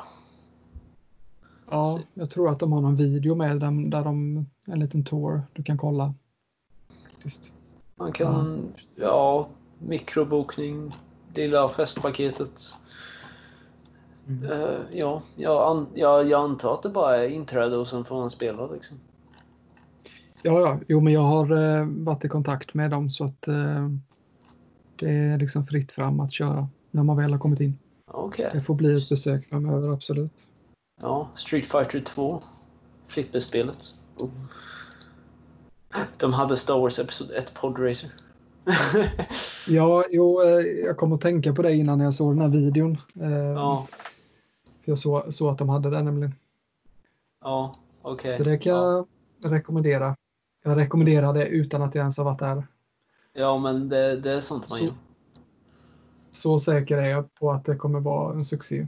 [SPEAKER 1] ja, jag tror att de har någon video med dem där de, en liten tour du kan kolla. Faktiskt.
[SPEAKER 3] Man
[SPEAKER 1] Mm.
[SPEAKER 3] kan, ja, mikrobokning, det lilla festpaketet.
[SPEAKER 1] Mm.
[SPEAKER 3] Eh, ja, jag, an, ja, jag antar att det bara är inträde och sen får man spela liksom.
[SPEAKER 1] Ja, ja, jo, men jag har eh, varit i kontakt med dem så att eh, det är liksom fritt fram att köra när man väl har kommit in.
[SPEAKER 3] Okej.
[SPEAKER 1] Det får bli ett besök framöver, absolut.
[SPEAKER 3] Ja, Street Fighter 2. Flipperspelet. De hade Star Wars Episod 1 Podracer.
[SPEAKER 1] Ja, jo, eh, jag kom att tänka på det innan jag såg den här videon. Eh,
[SPEAKER 3] ja,
[SPEAKER 1] för Jag såg så att de hade det nämligen.
[SPEAKER 3] ja, okej.
[SPEAKER 1] Så det kan
[SPEAKER 3] ja.
[SPEAKER 1] jag rekommendera. Jag rekommenderar det utan att jag ens har varit där.
[SPEAKER 3] ja, men det, det är sånt man
[SPEAKER 1] Så-
[SPEAKER 3] gör.
[SPEAKER 1] Så säker är jag på att det kommer vara en succé.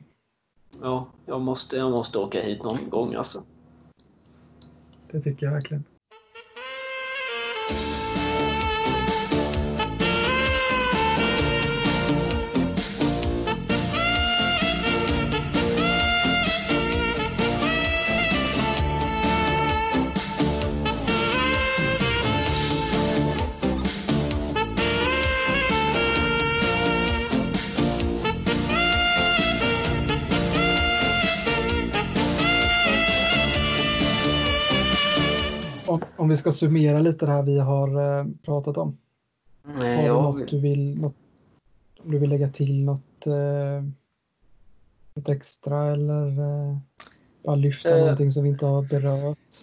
[SPEAKER 3] Ja, jag måste, jag måste åka hit någon gång alltså.
[SPEAKER 1] Det tycker jag verkligen. Om, om vi ska summera lite det här vi har eh, pratat om. Har
[SPEAKER 3] Nej,
[SPEAKER 1] du
[SPEAKER 3] jag,
[SPEAKER 1] något du vill, något, om du vill lägga till något, eh, något extra eller eh, bara lyfta
[SPEAKER 3] Eh.
[SPEAKER 1] någonting som vi inte har berört?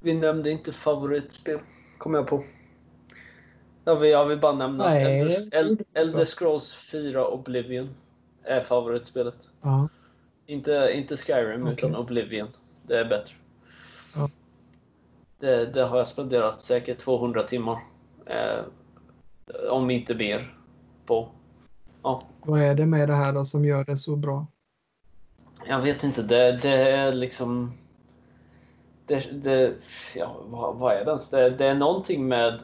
[SPEAKER 3] Vi nämnde inte favoritspel, kom jag på. Jag vill, jag vill bara nämna att
[SPEAKER 1] Nej,
[SPEAKER 3] Elder,
[SPEAKER 1] det gjorde
[SPEAKER 3] El,
[SPEAKER 1] du inte.
[SPEAKER 3] Elder Scrolls 4 Oblivion är favoritspelet.
[SPEAKER 1] Ja,
[SPEAKER 3] Inte, inte Skyrim,
[SPEAKER 1] Okej.
[SPEAKER 3] utan Oblivion. Det är bättre.
[SPEAKER 1] Ja.
[SPEAKER 3] Det, det har jag spenderat säkert 200 timmar. Eh, om inte mer. På. Ja,
[SPEAKER 1] vad är det med det här då som gör det så bra?
[SPEAKER 3] jag vet inte. Det, det är liksom... Det, det, ja, vad, vad är det ens? Det, det är någonting med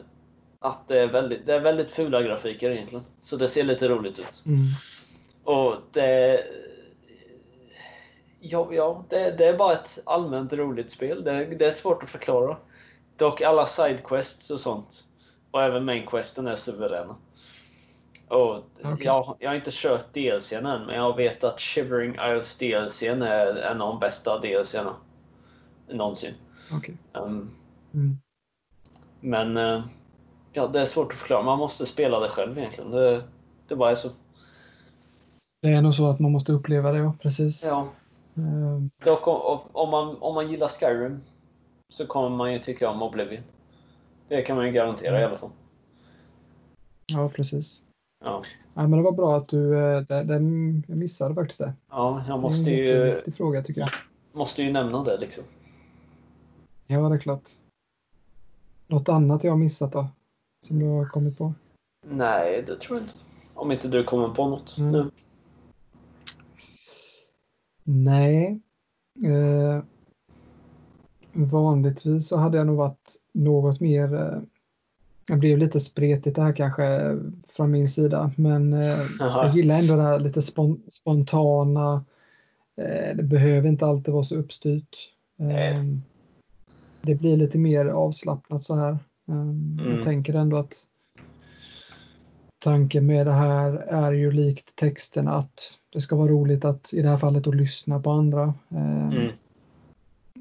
[SPEAKER 3] att det är, väldigt, det är väldigt fula grafiker egentligen. Så det ser lite roligt ut.
[SPEAKER 1] Mm.
[SPEAKER 3] Och det... Ja, ja det, det är bara ett allmänt roligt spel. Det, det är svårt att förklara. Dock alla sidequests och sånt. Och även mainquesten är suveräna. Och
[SPEAKER 1] Okej.
[SPEAKER 3] jag, jag har inte kört DLCn än, men jag vet att Shivering Isles DLCn är en av de bästa DLCna. Någonsin.
[SPEAKER 1] Okej.
[SPEAKER 3] Ehm,
[SPEAKER 1] Mm.
[SPEAKER 3] men eh, ja, det är svårt att förklara. Man måste spela det själv egentligen. Det, det bara är så.
[SPEAKER 1] Det är nog så att man måste uppleva det, ja, precis.
[SPEAKER 3] Ja.
[SPEAKER 1] Eh,
[SPEAKER 3] Dock, om, om, man, om man gillar Skyrim så kommer man ju tycka om Oblivion. Det kan man ju garantera i
[SPEAKER 1] Mm.
[SPEAKER 3] alla fall.
[SPEAKER 1] ja, precis.
[SPEAKER 3] Ja,
[SPEAKER 1] Ja, men det var bra att du... eh, Det, det, jag missade faktiskt det.
[SPEAKER 3] ja jag
[SPEAKER 1] Det är en
[SPEAKER 3] måste ju,
[SPEAKER 1] jätteviktig fråga tycker jag.
[SPEAKER 3] måste ju nämna det liksom.
[SPEAKER 1] Ja, det är klart. Något annat jag har missat då? Som du har kommit på?
[SPEAKER 3] Nej, det tror jag inte. Om inte du kommer på något
[SPEAKER 1] Mm.
[SPEAKER 3] nu.
[SPEAKER 1] Nej. Eh, vanligtvis så hade jag nog varit något mer... Eh, jag blev lite spretigt det här kanske eh, från min sida, men eh, jag
[SPEAKER 3] Jaha.
[SPEAKER 1] gillar ändå det här lite spon spontana. Eh, det behöver inte alltid vara så uppstyrt. Eh,
[SPEAKER 3] Nej.
[SPEAKER 1] det blir lite mer avslappnat så här. Eh,
[SPEAKER 3] Mm.
[SPEAKER 1] Jag tänker ändå att tanken med det här är ju likt texten att det ska vara roligt att i det här fallet att lyssna på andra eh,
[SPEAKER 3] Mm.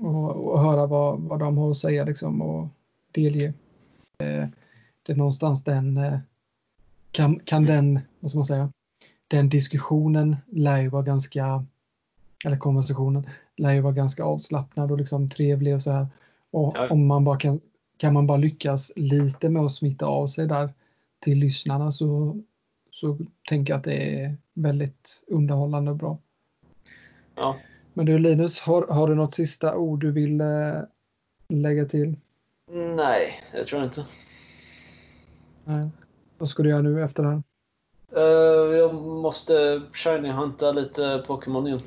[SPEAKER 1] och, och höra vad, vad de har att säga liksom, och delge. Eh, det är någonstans den eh, kan, kan den, vad ska man säga, den diskussionen lär ju vara ganska, eller konversationen, lär ju vara ganska avslappnad och liksom trevlig och så här. Och
[SPEAKER 3] Ja.
[SPEAKER 1] om man bara kan, kan man bara lyckas lite med att smitta av sig där till lyssnarna så, så tänker jag att det är väldigt underhållande och bra.
[SPEAKER 3] Ja.
[SPEAKER 1] Men du Linus, har, har du något sista ord du vill eh, lägga till?
[SPEAKER 3] Nej, jag tror inte.
[SPEAKER 1] Nej. Vad ska du göra nu efter det här?
[SPEAKER 3] Eh, jag måste shiny-hunta lite Pokémon igen.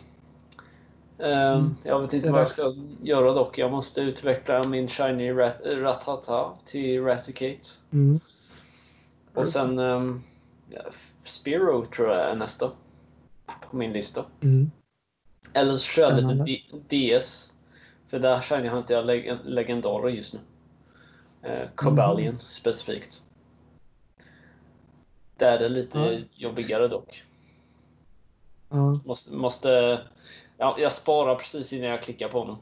[SPEAKER 3] Eh,
[SPEAKER 1] Mm.
[SPEAKER 3] Jag vet
[SPEAKER 1] Det
[SPEAKER 3] inte
[SPEAKER 1] är
[SPEAKER 3] vad jag
[SPEAKER 1] dags.
[SPEAKER 3] ska göra dock. Jag måste utveckla min shiny rat Ratata till Raticate. Och
[SPEAKER 1] Just
[SPEAKER 3] sen um, Spiro tror jag är nästa på min lista.
[SPEAKER 1] Mm.
[SPEAKER 3] Eller så kör jag lite
[SPEAKER 1] Spännande.
[SPEAKER 3] D- DS. För där känner jag inte jag leg legendarer just nu. Eh, Cobalion
[SPEAKER 1] Mm.
[SPEAKER 3] specifikt. Där är det lite
[SPEAKER 1] Ja.
[SPEAKER 3] jobbigare dock.
[SPEAKER 1] Ja.
[SPEAKER 3] Måste, måste, ja, jag sparar precis innan jag klickar på honom.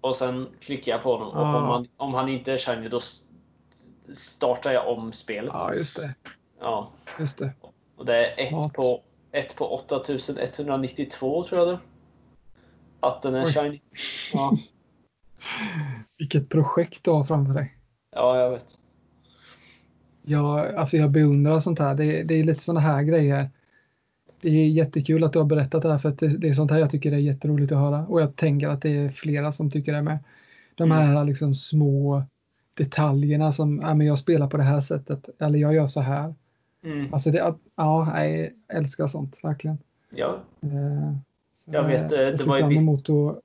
[SPEAKER 3] Och sen klickar jag på honom. Och
[SPEAKER 1] Ja.
[SPEAKER 3] om, han, om han inte är shiny då s- startar jag om spelet.
[SPEAKER 1] ja, just det.
[SPEAKER 3] Ja.
[SPEAKER 1] Just det.
[SPEAKER 3] Och det är
[SPEAKER 1] Smart.
[SPEAKER 3] ett på, ett på 8192 tror jag det är. Att den är
[SPEAKER 1] Oj.
[SPEAKER 3] shiny. Ja,
[SPEAKER 1] Vilket projekt du har framför dig.
[SPEAKER 3] ja jag vet.
[SPEAKER 1] Ja, alltså jag beundrar sånt här. Det, det är lite såna här grejer. Det är jättekul att du har berättat det här för att det, det är sånt här jag tycker är jätteroligt att höra. Och jag tänker att det är flera som tycker det med. De
[SPEAKER 3] Mm.
[SPEAKER 1] här liksom små detaljerna som, ja men jag spelar på det här sättet. Eller jag gör så här. Alltså det, att- ja, nej, jag älskar sånt verkligen.
[SPEAKER 3] Ja,
[SPEAKER 1] Eh, så
[SPEAKER 3] Jag vet, eh, det
[SPEAKER 1] jag ser
[SPEAKER 3] var ju
[SPEAKER 1] fram
[SPEAKER 3] visst-
[SPEAKER 1] emot att,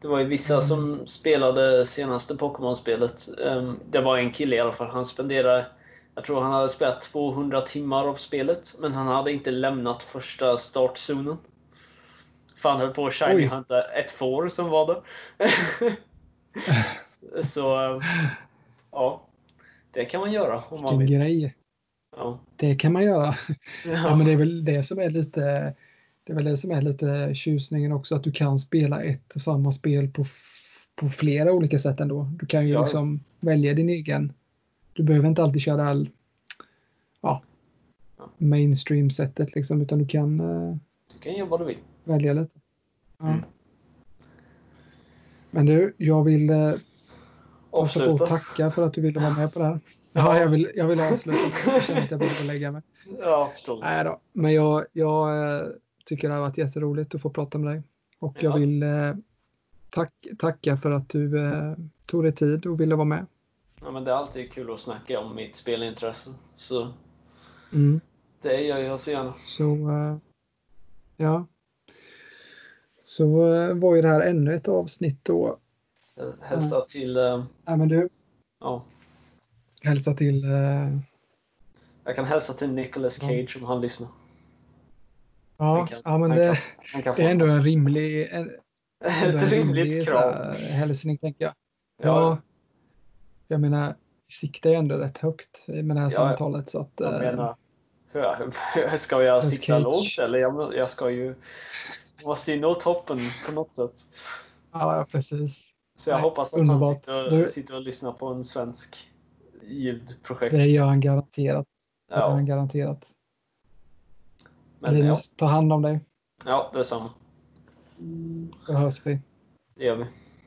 [SPEAKER 3] det var ju vissa
[SPEAKER 1] Mm.
[SPEAKER 3] som spelade senaste Pokémon-spelet. Ehm, det var en kille i alla fall. Han spenderade, jag tror han hade spelat 200 timmar av spelet. Men han hade inte lämnat första startzonen. För han höll på att
[SPEAKER 1] Oj.
[SPEAKER 3] shiny hunta ett får som var där. Så, ehm, ja. Det kan man göra om man
[SPEAKER 1] vilken
[SPEAKER 3] vill.
[SPEAKER 1] grej.
[SPEAKER 3] Ja.
[SPEAKER 1] Det kan man göra. Ja,
[SPEAKER 3] Ja.
[SPEAKER 1] men det är väl det som är lite det är väl det som är lite tjusningen också att du kan spela ett och samma spel på, f- på flera olika sätt ändå. Du kan ju
[SPEAKER 3] Ja.
[SPEAKER 1] liksom välja din egen. Du behöver inte alltid köra all ja, mainstream-sättet liksom utan du kan eh,
[SPEAKER 3] Du kan göra vad du vill.
[SPEAKER 1] välja lite. Ja.
[SPEAKER 3] Mm.
[SPEAKER 1] Men du, jag vill eh, passa på
[SPEAKER 3] Avsluta.
[SPEAKER 1] att tacka för att du ville vara med på det här. Ja, jag vill, jag vill avsluta. Jag känner att jag behöver lägga mig.
[SPEAKER 3] Ja, förstås.
[SPEAKER 1] Nej då, men jag, jag eh, tycker det har varit jätteroligt att få prata med dig. Och jag
[SPEAKER 3] Ja.
[SPEAKER 1] vill eh, tack, tacka för att du eh, tog dig tid och ville vara med.
[SPEAKER 3] Ja, men det är alltid kul att snacka om mitt spelintresse. Så det gör jag så gärna.
[SPEAKER 1] Mm. Så, eh, ja. Så eh, var ju det här ännu ett avsnitt då.
[SPEAKER 3] Hälsa
[SPEAKER 1] Mm.
[SPEAKER 3] till... eh,
[SPEAKER 1] Nej, men du,
[SPEAKER 3] Ja,
[SPEAKER 1] hälsa till... Eh,
[SPEAKER 3] jag kan hälsa till Nicolas Cage om han lyssnar. Han
[SPEAKER 1] ja,
[SPEAKER 3] kan-
[SPEAKER 1] ja, men
[SPEAKER 3] han
[SPEAKER 1] det,
[SPEAKER 3] kan- han kan få
[SPEAKER 1] det är ändå en rimlig, en, ändå en
[SPEAKER 3] Ett rimligt
[SPEAKER 1] så
[SPEAKER 3] krav.
[SPEAKER 1] här hälsning tänker jag. Ja.
[SPEAKER 3] Ja,
[SPEAKER 1] Jag menar, vi siktar ju ändå rätt högt med det här
[SPEAKER 3] Ja,
[SPEAKER 1] samtalet. Så att,
[SPEAKER 3] jag
[SPEAKER 1] eh,
[SPEAKER 3] menar... Hur, hur ska jag
[SPEAKER 1] Nicolas
[SPEAKER 3] sitta
[SPEAKER 1] Cage.
[SPEAKER 3] lågt eller? Jag, må- jag ska ju... Jag måste ju nå toppen på något sätt.
[SPEAKER 1] Ja, precis.
[SPEAKER 3] Så jag
[SPEAKER 1] Nej,
[SPEAKER 3] hoppas att
[SPEAKER 1] underbart.
[SPEAKER 3] han sitter,
[SPEAKER 1] Du-
[SPEAKER 3] sitter och lyssnar på en svensk
[SPEAKER 1] Det
[SPEAKER 3] ljudprojekt.
[SPEAKER 1] gör han garanterat. Det gör
[SPEAKER 3] Ja,
[SPEAKER 1] han garanterat.
[SPEAKER 3] men ja,
[SPEAKER 1] Linus, ta hand om dig.
[SPEAKER 3] ja detsamma.
[SPEAKER 1] Då hörs vi.
[SPEAKER 3] Det gör vi.